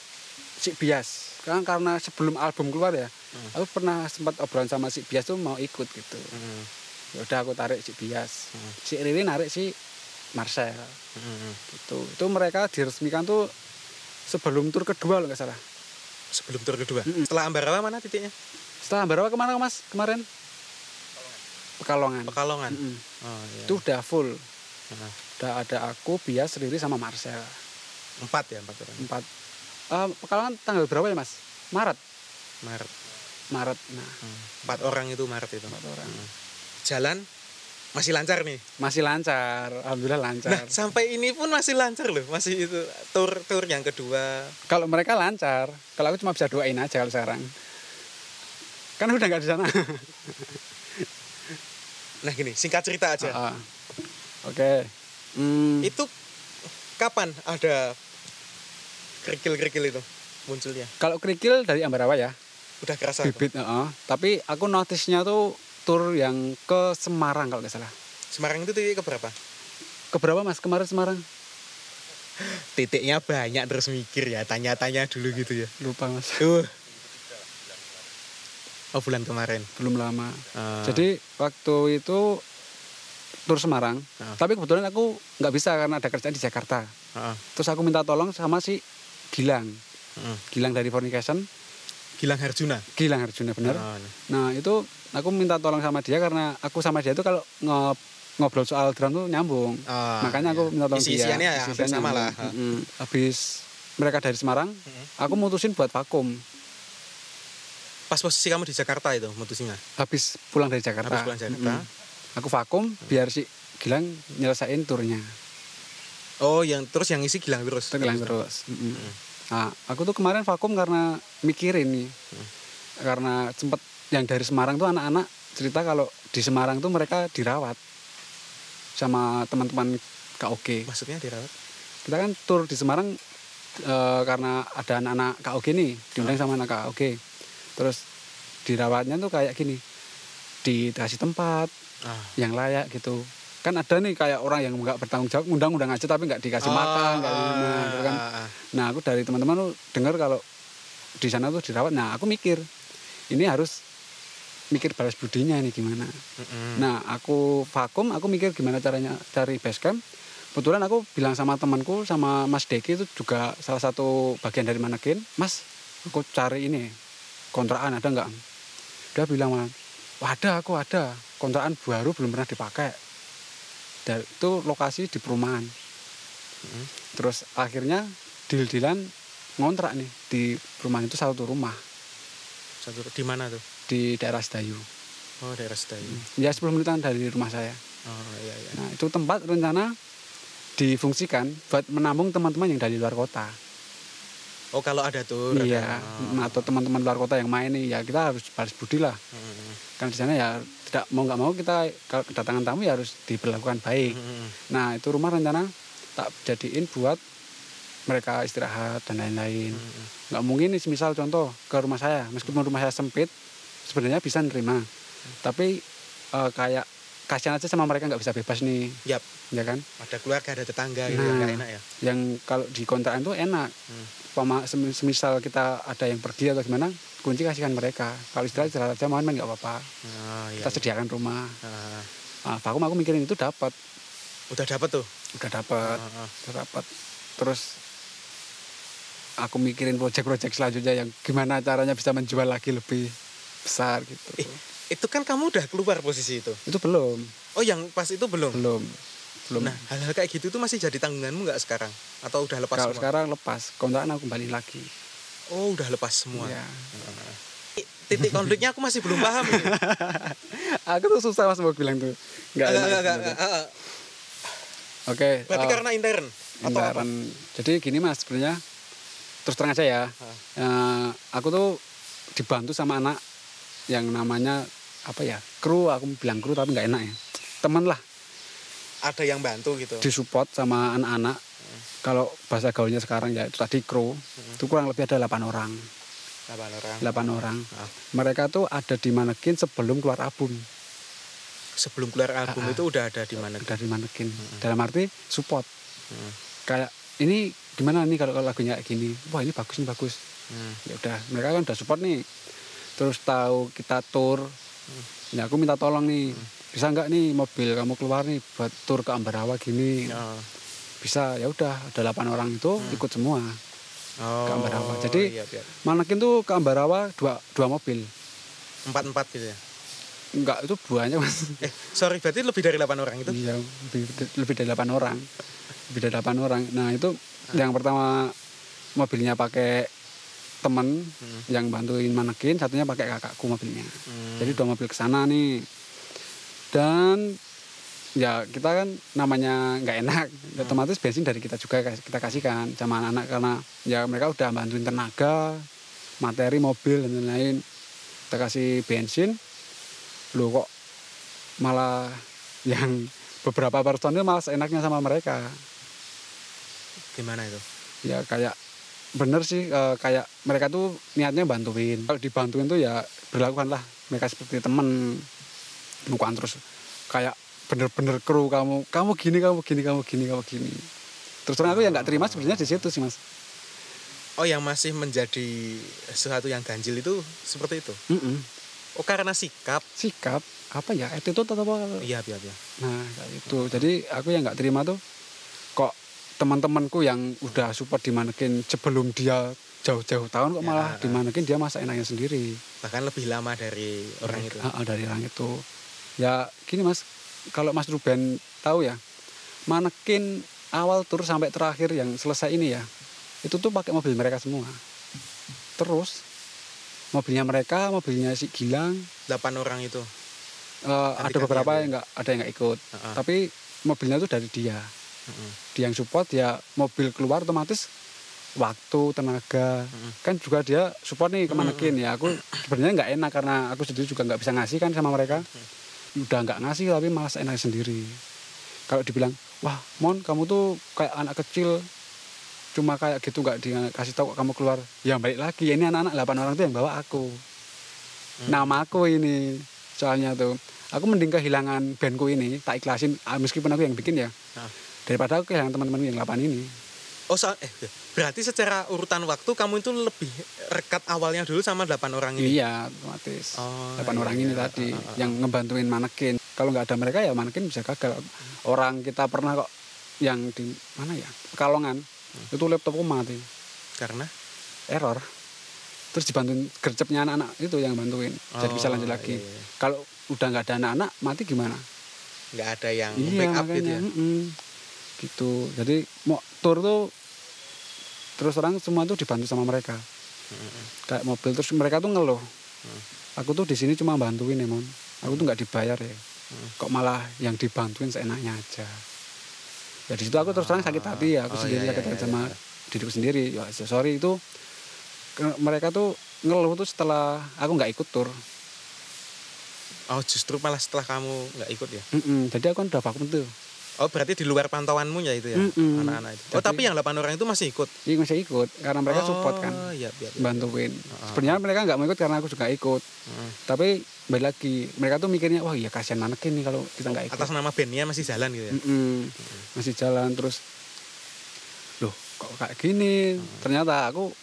H: si Bias kan karena sebelum album keluar ya aku pernah sempat obrolan sama si Bias tuh mau ikut gitu
A: Hmm.
H: ya udah aku tarik si Bias
A: Hmm.
H: si Riri narik si Marcel
A: Mm-mm.
H: gitu itu mereka diresmikan tuh sebelum tur kedua loh nggak salah
A: Sebelum tur kedua.
H: Mm-mm.
A: Setelah Ambarawa mana titiknya?
H: setelah Ambarawa kemana mas kemarin Pekalongan,
A: Pekalongan.
H: Mm-mm.
A: Oh, iya.
H: itu udah full
A: Heeh.
H: udah ada aku Bias Riri sama Marcel
A: empat ya empat orang.
H: empat Eh, Pekalongan tanggal berapa ya mas Maret
A: Maret.
H: Maret nah
A: Empat orang itu Maret itu.
H: empat orang
A: Jalan masih lancar nih.
H: masih lancar alhamdulillah
A: Nah
H: lancar
A: sampai ini pun masih lancar loh. Masih itu tur tur yang kedua.
H: kalau mereka lancar kalau aku cuma bisa doain aja kalau sekarang kan udah nggak di sana
A: Nah gini singkat cerita aja.
H: Ah, ah. oke Hmm,
A: Itu kapan ada kerikil-kerikil itu munculnya
H: Kalau kerikil dari Ambarawa ya,
A: udah kerasa apa?
H: bibit. heeh. Tapi aku notisnya tuh tur yang ke Semarang kalau nggak salah.
A: Semarang itu titik keberapa
H: Keberapa mas kemarin Semarang?
A: titiknya banyak terus mikir ya tanya-tanya dulu gitu ya
H: Lupa mas. *laughs*
A: uh. oh bulan kemarin
H: Belum lama.
A: Ah,
H: Jadi waktu itu tur Semarang.
A: Ah.
H: Tapi kebetulan aku nggak bisa karena ada kerjaan di Jakarta.
A: ah, ah.
H: Terus aku minta tolong sama si Gilang.
A: Hmm.
H: Gilang dari Fornication.
A: Gilang Harjuna
H: Gilang Arjuna bener.
A: Ah, nah.
H: Nah itu aku minta tolong sama dia karena aku sama dia itu kalau nge- ngobrol soal drum tuh nyambung.
A: Ah,
H: Makanya
A: iya.
H: aku minta tolong dia.
A: Isi-isiannya ya hampir
H: Isi-isiannya
A: sama lah.
H: nyambung. Mm-mm. Habis mereka dari Semarang, aku mutusin buat vakum.
A: Pas posisi kamu di Jakarta itu mutusinya.
H: Habis pulang dari Jakarta.
A: Habis pulang Jakarta.
H: Mm-mm. Aku vakum biar si Gilang nyelesain turnya.
A: Oh, yang terus yang isi Gilang terus.
H: Terus Gilang terus. Mm-mm. Nah, aku tuh kemarin vakum karena mikirin nih.
A: Mm.
H: Karena sempet yang dari Semarang tuh anak-anak cerita kalau di Semarang tuh mereka dirawat sama teman-teman KOG.
A: Maksudnya dirawat.
H: Kita kan tur di Semarang eh, karena ada anak-anak KOG nih, diundang sama anak KOG. Terus dirawatnya tuh kayak gini. Dikasih tempat
A: Ah.
H: yang layak gitu. Kan ada nih kayak orang yang nggak bertanggung jawab, undang-undang aja tapi nggak dikasih makan, nggak gimana gitu kan.
A: Oh, ah, ah.
H: Nah aku dari teman-teman tuh dengar kalau di sana tuh dirawat. Nah aku mikir ini harus mikir balas budinya ini gimana.
A: Mm-mm.
H: Nah aku vakum, aku mikir gimana caranya cari base camp. Kebetulan aku bilang sama temanku sama Mas Deki itu juga salah satu bagian dari manekin. Mas, aku cari ini kontrakan ada nggak? Dia bilang "Wah, ada aku ada kontrakan baru belum pernah dipakai. Dan itu lokasi di perumahan. Terus akhirnya deal-dealan ngontrak nih di perumahan itu satu rumah
A: Satu di mana tuh?
H: di daerah Sedayu.
A: Oh, daerah Sedayu.
H: Ya 10 menitan dari rumah saya.
A: Oh, iya iya.
H: Nah, itu tempat rencana difungsikan buat menampung teman-teman yang dari luar kota.
A: Oh, kalau ada tuh. ada.
H: Iya,
A: Ah.
H: atau teman-teman luar kota yang main nih, ya kita harus balas budi lah.
A: Mm-mm.
H: Karena di sana ya tidak mau nggak mau kita kalau kedatangan tamu ya harus diperlakukan baik.
A: Mm-mm.
H: Nah, itu rumah rencana tak jadiin buat mereka istirahat dan lain-lain. Nggak mungkin nih, misal contoh ke rumah saya, meskipun rumah saya sempit, sebenarnya bisa nerima. Tapi eh, kayak kasihan aja sama mereka nggak bisa bebas nih,
A: Yap,
H: ya kan?
A: ada keluarga, ada tetangga gitu ya,
H: Nah.
A: nggak enak ya.
H: yang kalau di kontrakan tuh enak.
A: Hmm.
H: Pema- semi- semisal kita ada yang pergi atau gimana, kunci kasihkan mereka. Kalau istirahat istirahat aja main-main nggak apa-apa.
A: Oh, iya.
H: Kita
A: iya.
H: sediakan rumah.
A: Ah,
H: Nah, vakum aku mikirin itu dapat,
A: udah dapat tuh.
H: udah dapat,
A: Ah, ah.
H: udah dapat. Terus aku mikirin project-project selanjutnya yang gimana caranya bisa menjual lagi lebih besar gitu.
A: Ih. Itu kan kamu udah keluar posisi itu.
H: Itu belum,
A: Oh, yang pas itu belum.
H: belum, belum.
A: Nah, hal-hal kayak gitu tuh masih jadi tanggunganmu nggak sekarang? Atau udah lepas
H: kalau
A: semua?
H: sekarang lepas, kontrakan aku kembali lagi.
A: Oh, udah lepas semua.
H: Ya.
A: Titik konfliknya aku masih belum
H: *laughs*
A: paham. ini.
H: Aku tuh susah mas mau bilang tuh. Nggak
A: Agak,
H: enak
A: agak, agak,
H: sebenarnya.
A: agak, agak.
H: Oke.
A: Berarti
H: eh,
A: karena intern atau apa?
H: Hindaran. Jadi gini mas, sebenarnya terus terang aja ya, eh, aku tuh dibantu sama anak yang namanya apa ya kru, aku bilang kru tapi nggak enak ya. Temen lah,
A: Ada yang bantu gitu.
H: disupport sama anak-anak. Kalau bahasa gaulnya sekarang ya itu tadi kru,
A: Hmm.
H: itu kurang lebih ada 8 orang,
A: Delapan orang.
H: 8 orang.
A: Ah.
H: Mereka tuh ada di manekin sebelum keluar album,
A: Sebelum keluar
H: Ah,
A: album itu udah ada di mana?
H: dari manekin. Dalam arti support.
A: Mm.
H: Kayak ini gimana nih kalau kalau lagunya kayak gini, wah ini bagus nih bagus.
A: Hmm.
H: ya udah mereka kan udah support nih terus tahu kita tur
A: Mm.
H: ya aku minta tolong nih bisa nggak nih mobil kamu keluar nih buat tur ke Ambarawa gini
A: Oh.
H: bisa ya udah ada 8 orang itu ikut semua
A: Mm. Oh,
H: Gambar apa? Jadi-
A: iya, iya.
H: manekin tuh ke Ambarawa dua dua mobil
A: empat-empat gitu ya.
H: enggak itu banyak mas
A: Eh, sorry berarti lebih dari delapan orang itu.
H: Iya, lebih, lebih dari 8 orang. Lebih dari 8 orang. Nah, itu yang pertama mobilnya pakai temen yang bantuin manekin, satunya pakai kakakku mobilnya. Jadi dua mobil ke sana nih. Dan ya kita kan namanya nggak enak, otomatis bensin dari kita juga kas- kita kasihkan sama anak-anak karena ya mereka udah bantuin tenaga, materi mobil dan lain-lain. Kita kasih bensin. Loh kok malah yang beberapa personil malah seenaknya sama mereka
A: Gimana itu?
H: ya kayak bener sih eh, kayak mereka tuh niatnya bantuin kalau dibantuin tuh ya berlakukan lah mereka seperti temen bukan terus kayak bener-bener kru kamu kamu gini kamu gini kamu gini kamu gini terus terang aku yang nggak terima sebenarnya di situ sih mas
A: Oh yang masih menjadi sesuatu yang ganjil itu seperti itu.
H: Mm-mm.
A: Oh karena sikap.
H: sikap apa ya attitude atau apa
A: Iya iya iya.
H: Nah, kayak gitu. Jadi aku yang nggak terima tuh kok teman-temanku yang udah support di manekin sebelum dia jauh-jauh tahun kok
A: Ya.
H: malah di manekin dia masak enaknya sendiri.
A: Bahkan lebih lama dari orang itu.
H: Ah, ah, dari orang itu. Ya gini Mas, kalau Mas Ruben tahu ya, manekin awal tur sampai terakhir yang selesai ini ya, itu tuh pakai mobil mereka semua. Terus mobilnya mereka, mobilnya si Gilang,
A: Delapan orang itu.
H: eh, ada
A: Ganti-gantian
H: beberapa
A: ya?
H: yang nggak ada yang nggak ikut.
A: Heeh.
H: tapi mobilnya itu dari dia
A: Mm-mm.
H: dia yang support ya mobil keluar otomatis waktu tenaga
A: Mm-mm.
H: kan juga dia support nih ke
A: Mm-mm.
H: manekin ya aku sebenarnya nggak enak karena aku sendiri juga nggak bisa ngasih kan sama mereka udah nggak ngasih tapi malas enak sendiri kalau dibilang wah mon kamu tuh kayak anak kecil cuma kayak gitu nggak dikasih tahu kok kamu keluar ya balik lagi ini anak-anak 8 orang tuh yang bawa aku nama aku ini soalnya tuh aku mending kehilangan bandku ini tak ikhlasin ah, meskipun aku yang bikin ya
A: Ah.
H: daripada aku kehilangan teman-teman yang 8 ini
A: Oh so- eh, berarti secara urutan waktu kamu itu lebih rekat awalnya dulu sama delapan orang ini.
H: iya otomatis
A: Oh,
H: 8 orang
A: iya,
H: ini
A: iya.
H: tadi
A: Ah, ah, ah.
H: yang ngebantuin manekin kalau nggak ada mereka ya manekin bisa gagal orang kita pernah kok yang di mana ya pekalongan
A: Hmm.
H: itu laptopku mati
A: Karena
H: error terus dibantuin gercepnya anak-anak itu yang bantuin jadi bisa
A: Oh,
H: lanjut lagi
A: iya, iya.
H: kalau udah nggak ada anak-anak mati gimana
A: nggak ada yang
H: iya
A: backup
H: makanya
A: gitu ya.
H: mm-mm. gitu jadi mau tour tuh terus terang semua tuh dibantu sama mereka kayak mobil terus mereka tuh ngeluh
A: Mm.
H: aku tuh di sini cuma bantuin ya mon aku tuh nggak dibayar ya
A: Mm.
H: kok malah yang dibantuin seenaknya aja ya di situ aku terus terang sakit hati ya aku
A: Oh,
H: sendiri
A: iya,
H: sakit
A: iya,
H: hati
A: iya,
H: sama diriku sendiri ya sorry itu ke- mereka tuh ngeluh tuh setelah aku nggak ikut tour
A: Oh justru malah setelah kamu nggak ikut ya.
H: Mm-mm. jadi aku kan udah vakum tuh
A: Oh berarti di luar pantauanmu ya itu ya
H: Mm-mm.
A: anak-anak itu. Oh
H: Jadi-
A: tapi yang delapan orang itu masih ikut.
H: Iya masih ikut karena mereka support kan
A: Oh iya iya. iya.
H: bantuin. Sebenarnya mereka nggak mau ikut karena aku juga ikut.
A: Heeh.
H: Tapi balik lagi mereka tuh mikirnya wah iya kasihan manekin nih kalau kita nggak ikut.
A: Atas nama bandnya masih jalan gitu ya.
H: Mm-mm. Masih jalan terus. Loh kok kayak gini?
A: Hmm.
H: Ternyata aku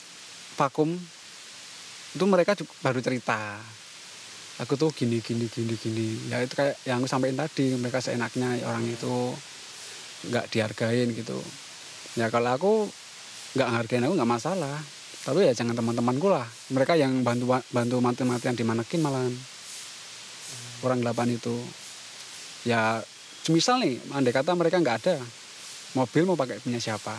H: vakum. Itu mereka juga baru cerita. Aku tuh gini gini gini gini. Ya itu kayak yang aku sampaikan tadi mereka seenaknya orang itu nggak dihargain gitu. Ya kalau aku nggak ngehargain aku nggak masalah. Tapi ya jangan teman-temanku lah. Mereka yang bantu bantu mati-matian di manekin malahan. Orang delapan itu. Ya semisal nih, andai kata mereka nggak ada, mobil mau pakai punya siapa?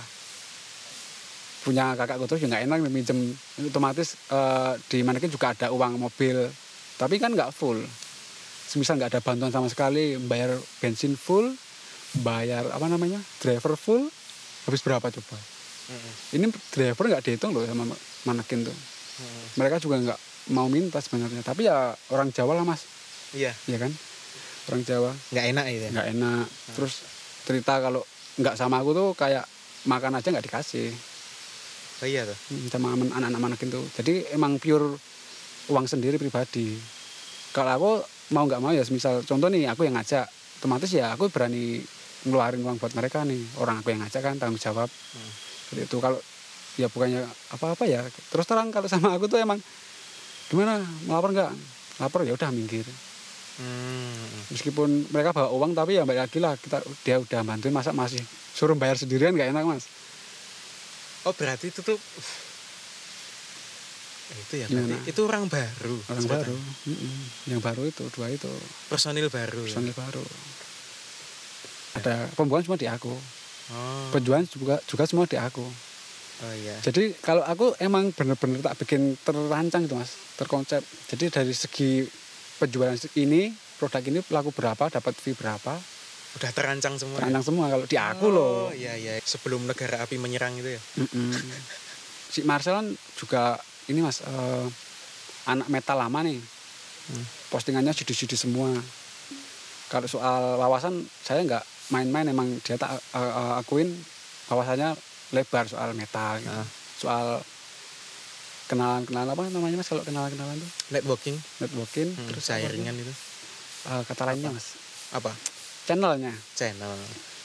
H: Punya kakakku terus ya nggak enak minjem. Otomatis eh, di manekin juga ada uang mobil. Tapi kan nggak full. Semisal nggak ada bantuan sama sekali, bayar bensin full, bayar apa namanya, driver full, habis berapa coba? ini driver nggak dihitung loh sama manekin tuh mereka juga nggak mau minta sebenarnya tapi ya orang Jawa lah mas
A: Iya.
H: ya kan orang Jawa
A: Nggak enak itu ya.
H: nggak enak terus cerita kalau nggak sama aku tuh kayak makan aja nggak dikasih
A: Oh, iya tuh.
H: sama aman- anak-anak manekin tuh jadi emang pure uang sendiri pribadi kalau aku mau nggak mau ya misal contoh nih aku yang ngajak otomatis ya aku berani ngeluarin uang buat mereka nih orang aku yang ngajak kan tanggung jawab
A: Hmm.
H: seperti itu kalau ya bukannya apa-apa ya terus terang kalau sama aku tuh emang gimana melapor nggak lapor ya udah minggir
A: Hmm.
H: meskipun mereka bawa uang tapi ya balik lagi lah kita dia udah bantuin masa masih suruh bayar sendirian nggak enak mas
A: Oh berarti itu tuh itu ya berarti
H: Gimana?
A: itu orang Iya. baru
H: orang
A: sebutan.
H: baru Mm-mm. yang baru itu dua itu
A: personil baru ya?
H: personil baru ada pembuangan cuma di aku
A: oh,
H: penjualan juga juga semua di aku
A: oh iya
H: jadi kalau aku emang bener-bener tak bikin terancang itu mas terkonsep jadi dari segi penjualan ini produk ini laku berapa dapat fee berapa
A: udah terancang semua ya?
H: terancang semua kalau di aku
A: Oh,
H: loh
A: iya iya sebelum negara api menyerang itu ya
H: Mm-mm. si Marcel kan juga ini mas eh, anak metal lama nih
A: Hmm.
H: postingannya judi-judi semua kalau soal wawasan saya nggak
A: Ah.
H: main-main emang dia tak eh, eh, akuin wawasannya lebar soal metal gitu. soal kenalan-kenalan apa namanya mas kalau kenalan-kenalan tuh
A: networking
H: networking
A: hmm,
H: terus apa
A: sharingan itu
H: lagi? Eh, kata lainnya mas
A: apa
H: channelnya
A: channel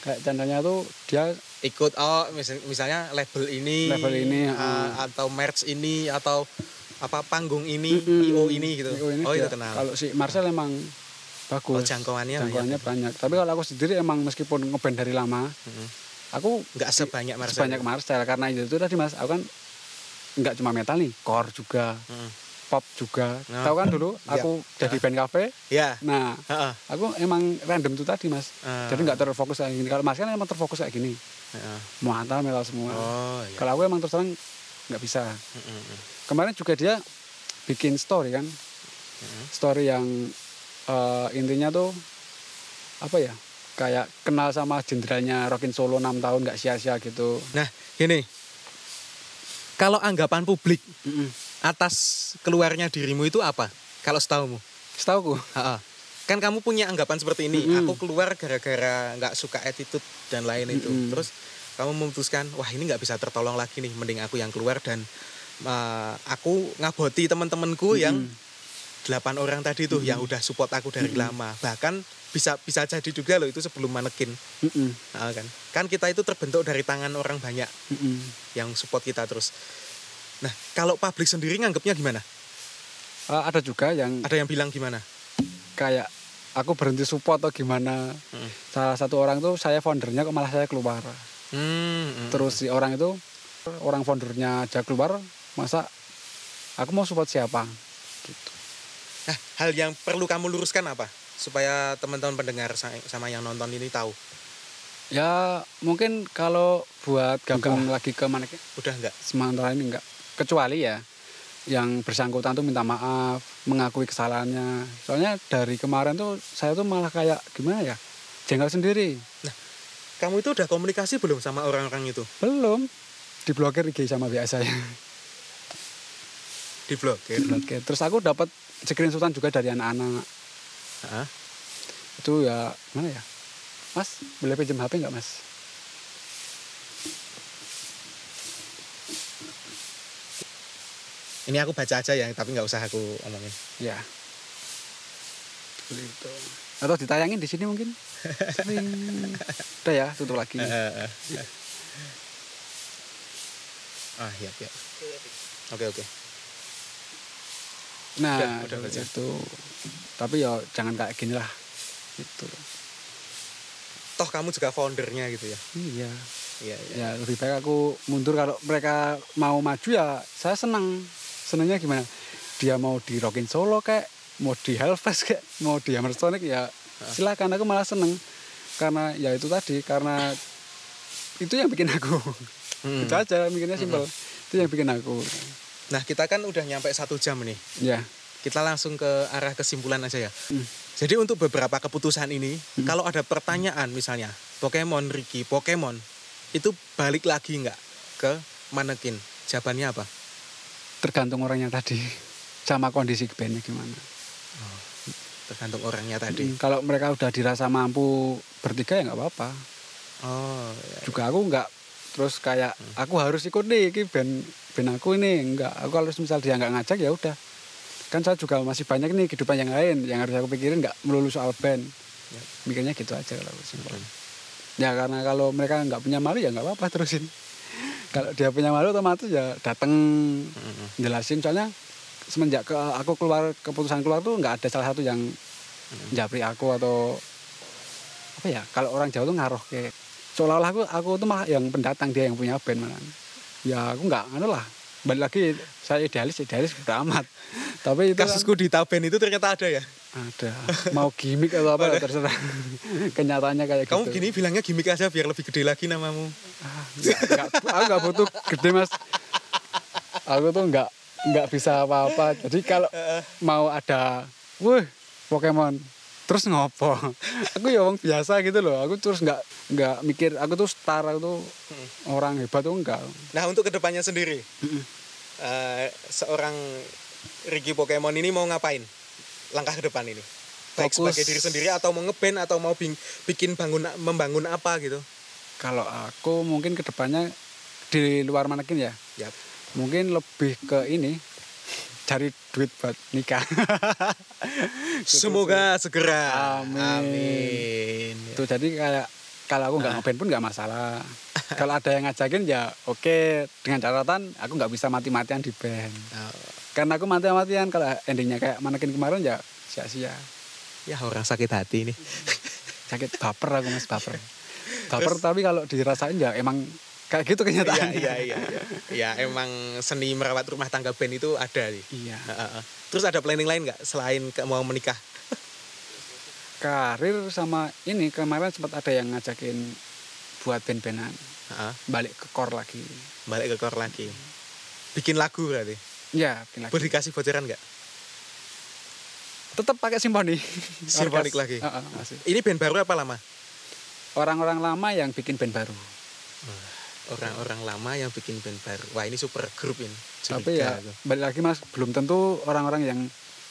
H: kayak channelnya tuh dia
A: ikut oh mis- misalnya label ini
H: Label ini,
A: ah,
H: ah.
A: atau merch ini atau apa panggung ini
H: Mm-mm.
A: io ini gitu
H: IO ini
A: oh itu
H: dia-
A: kenal
H: kalau si Marcel emang
A: oh,
H: bagus
A: jangkauannya ya.
H: jangkauannya
A: banyak.
H: banyak tapi kalau aku sendiri emang meskipun ngeband dari lama
A: Mm-mm.
H: aku
A: nggak sebanyak Marcel ya?
H: sebanyak Marcel karena itu tuh tadi mas aku kan nggak cuma metal nih core juga
A: Mm.
H: pop juga
A: Nah.
H: tahu kan dulu
A: Iya.
H: aku jadi band cafe
A: ya
H: nah
A: heeh.
H: aku emang random tuh tadi mas
A: Ah.
H: jadi nggak terfokus kayak gini kalau mas kan emang terfokus kayak gini
A: Heeh.
H: muatal metal semua
A: oh iya
H: kalau aku emang terus terang nggak bisa
A: Mm-mm.
H: kemarin juga dia bikin story kan story yang eh, intinya tuh apa ya kayak kenal sama jenderalnya Rockin Solo 6 tahun nggak sia-sia gitu
A: nah gini kalau anggapan publik
H: Mm-mm.
A: atas keluarnya dirimu itu apa kalau setahumu
H: setahu ku
A: Heeh. kan kamu punya anggapan seperti ini
H: Mm-mm.
A: aku keluar gara-gara nggak suka attitude dan lain itu
H: Mm-mm.
A: terus kamu memutuskan wah ini nggak bisa tertolong lagi nih mending aku yang keluar dan eh, aku ngaboti teman-temanku Oh, yang delapan orang tadi tuh yang udah support aku dari lama bahkan bisa bisa jadi juga loh itu sebelum manekin
H: Mm-mm.
A: Heeh, kan kan kita itu terbentuk dari tangan orang banyak
H: Mm-mm.
A: yang support kita terus nah kalau publik sendiri nganggapnya gimana
H: Eh, ada juga yang
A: ada yang bilang gimana
H: kayak aku berhenti support atau gimana
A: Mm.
H: salah satu orang tuh saya foundernya kok malah saya keluar
A: Hmm, mm,
H: terus si orang itu orang foundernya aja keluar masa aku mau support siapa
A: Nah, hal yang perlu kamu luruskan apa? Supaya teman-teman pendengar sa- sama yang nonton ini tahu.
H: ya mungkin kalau buat gabung lagi ke mana
A: Udah enggak?
H: sementara ini enggak kecuali ya yang bersangkutan tuh minta maaf mengakui kesalahannya soalnya dari kemarin tuh saya tuh malah kayak gimana ya jengkel sendiri
A: Kamu itu udah komunikasi belum sama orang-orang itu?
H: belum diblokir IG sama WA saya
A: Di blogger?
H: diblokir terus aku dapat screenshotan juga dari anak-anak
A: Heeh.
H: itu ya mana ya mas boleh pinjam HP nggak mas
A: Ini aku baca aja ya, tapi nggak usah aku omongin.
H: ya seperti itu atau ditayangin di sini mungkin Sering. udah ya tutup lagi
A: Heeh. ah, iya, iya. Oke, oke.
H: Nah,
A: Udah, udah baca.
H: itu. Tapi ya jangan kayak gini lah. Gitu.
A: Toh kamu juga foundernya gitu ya?
H: Iya.
A: Iya, iya.
H: Ya lebih baik aku mundur kalau mereka mau maju ya saya senang. Senangnya gimana? Dia mau di Rockin Solo kayak, mau di Hellfest kayak, mau di Hammer Sonic
A: Ah.
H: ya silakan aku malah seneng karena ya itu tadi karena itu yang bikin aku
A: Mm.
H: itu aja mikirnya simpel itu yang bikin aku
A: Nah, kita kan udah nyampe satu jam nih.
H: ya
A: kita langsung ke arah kesimpulan aja ya. Jadi untuk beberapa keputusan ini, kalau ada pertanyaan misalnya, Pokemon Ricky, Pokemon, itu balik lagi nggak ke manekin? Jawabannya apa?
H: tergantung orangnya tadi sama kondisi bandnya gimana
A: Tergantung orangnya tadi.
H: Mm, Kalau mereka udah dirasa mampu bertiga ya nggak apa-apa.
A: Oh, ya.
H: Juga aku nggak terus kayak aku harus ikut nih, ini band band aku ini nggak. Aku kalau misal dia nggak ngajak ya udah. Kan saya juga masih banyak nih kehidupan yang lain yang harus aku pikirin nggak melulu soal band. Mikirnya gitu aja kalau aku simpel. Ya karena kalau mereka nggak punya malu ya nggak apa-apa terusin. Kalau dia punya malu otomatis ya datang jelasin soalnya semenjak ke aku keluar keputusan keluar tuh nggak ada salah satu yang japri aku atau apa ya kalau orang Jawa tuh ngaruh kayak seolah-olah aku aku tuh malah yang pendatang dia yang punya band malah ya aku nggak anu lah balik lagi saya idealis idealis udah amat *laughs* tapi itu kan
A: Kasusku di Taben itu ternyata ada ya.
H: ada mau gimmick atau apa terserah *laughs* kenyataannya kayak
A: Kamu
H: gitu
A: gini bilangnya gimmick aja biar lebih gede lagi namamu.
H: Nggak- nggak- aku nggak butuh gede mas aku tuh nggak nggak bisa apa-apa jadi kalau mau ada wih Pokemon terus ngopo *laughs* aku ya orang biasa gitu loh aku terus nggak nggak mikir aku tuh star aku tuh
A: Hmm.
H: orang hebat tuh enggak
A: Nah untuk kedepannya sendiri, eh, seorang Ricky Pokemon ini mau ngapain? Langkah ke depan ini? Baik
H: Fokus.
A: sebagai diri sendiri atau mau ngeband atau mau bing- bikin bangun membangun apa gitu?
H: kalau aku mungkin kedepannya di luar manekin ya
A: Yap.
H: mungkin lebih ke ini cari duit buat
A: *laughs*
H: nikah *laughs*
A: Semoga segera.
H: Amin.
A: Amin.
H: itu jadi kayak kalau aku nggak ngeband pun nggak masalah kalau ada yang ngajakin ya oke dengan catatan aku nggak bisa mati-matian di band
A: Oh.
H: karena aku mati-matian kalau endingnya kayak manekin kemarin ya sia-sia
A: Ya orang sakit hati nih.
H: sakit baper aku mas baper baper tapi kalau dirasain ya emang kayak gitu
A: Iya
H: kenyataannya
A: iya iya. iya. *laughs* Ya emang seni merawat rumah tangga band itu ada sih.
H: Iya.
A: Heeh. Terus ada planning lain nggak selain ke- mau menikah?
H: karir sama ini kemarin sempat ada yang ngajakin buat band-bandan
A: Heeh.
H: balik ke kor lagi
A: Balik ke kor lagi. Bikin lagu berarti.
H: ya bikin
A: Boleh
H: lagi
A: dikasih bocoran nggak?
H: tetap pakai simfoni
A: Simfonik
H: Orkes.
A: lagi.
H: Heeh, masih.
A: Ini band baru apa lama?
H: orang-orang lama yang bikin band baru
A: Orang-orang lama yang bikin band baru. Wah ini super grup ini.
H: tapi
A: Curiga
H: ya
A: aku.
H: balik lagi mas belum tentu orang-orang yang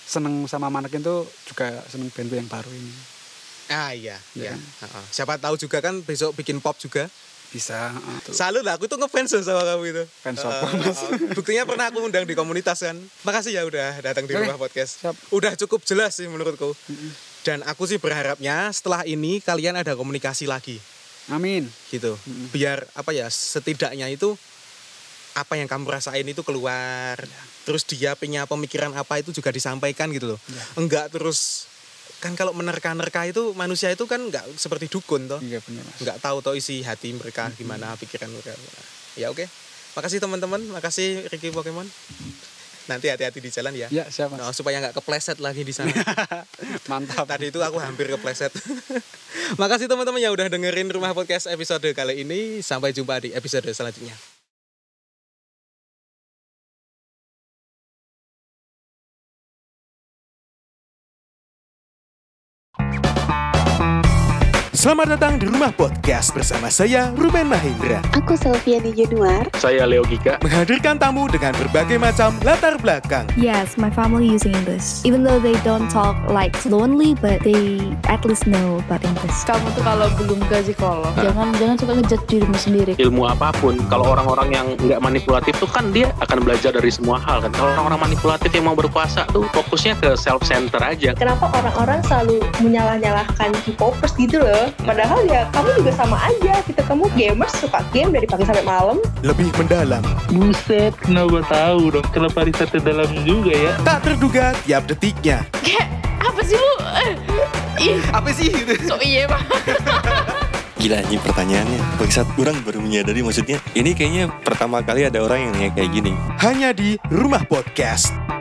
H: seneng sama manekin tuh juga seneng band yang baru ini
A: Ah iya. iya.
H: Ya kan?
A: Heeh. Siapa tahu juga kan besok bikin pop juga.
H: bisa heeh, tuh.
A: Salut lah, aku tuh ngefans loh sama kamu itu.
H: Fans
A: Heeh,
H: apa, Mas?
A: heeh. Buktinya pernah aku undang di komunitas kan. Makasih ya udah datang di
H: Oke,
A: rumah podcast.
H: siap.
A: Udah cukup jelas sih menurutku. Dan aku sih berharapnya setelah ini kalian ada komunikasi lagi
H: amin
A: gitu.
H: Mm-mm.
A: Biar apa ya setidaknya itu apa yang kamu rasain itu keluar. Terus dia punya pemikiran apa itu juga disampaikan gitu loh. Enggak terus kan kalau menerka-nerka itu manusia itu kan enggak seperti dukun toh
H: iya benar mas
A: nggak tahu tau isi hati mereka gimana pikiran mereka ya oke makasih teman-teman makasih Ricky Pokemon nanti hati-hati di jalan ya
H: ya siapa
A: Nah, supaya nggak kepleset lagi di sana
H: mantap
A: Nah, tadi itu aku hampir kepleset *laughs* makasih teman-teman yang udah dengerin rumah podcast episode kali ini sampai jumpa di episode selanjutnya
B: Selamat datang di Rumah Podcast bersama saya Ruben Mahendra
J: Aku Selviani Januar.
C: Saya Leo Gika.
B: Menghadirkan tamu dengan berbagai macam latar belakang
D: Yes, my family using English. Even though they don't talk like fluently, but they at least know about English.
E: Kamu tuh kalau belum ke psikolog, ya. jangan jangan suka ngejat dirimu sendiri.
C: Ilmu apapun, kalau orang-orang yang nggak manipulatif tuh kan dia akan belajar dari semua hal kan. Kalau orang-orang manipulatif yang mau berkuasa tuh fokusnya ke self center aja.
F: Kenapa orang-orang selalu menyalah-nyalahkan K-popers gitu loh? Padahal ya kamu juga sama aja gitu. Kamu gamers suka game dari pagi sampai malam.
B: Lebih mendalam
G: Buset, kenapa tahu dong? Kenapa risetnya dalam juga ya?
B: Tak terduga tiap detiknya
E: Apa sih lu? Ih,
A: apa sih
E: so iya pak.
I: Gila ini pertanyaannya. Bangsat, orang baru menyadari maksudnya. Ini kayaknya pertama kali ada orang yang nanya kayak gini.
B: Hanya di Rumah Podcast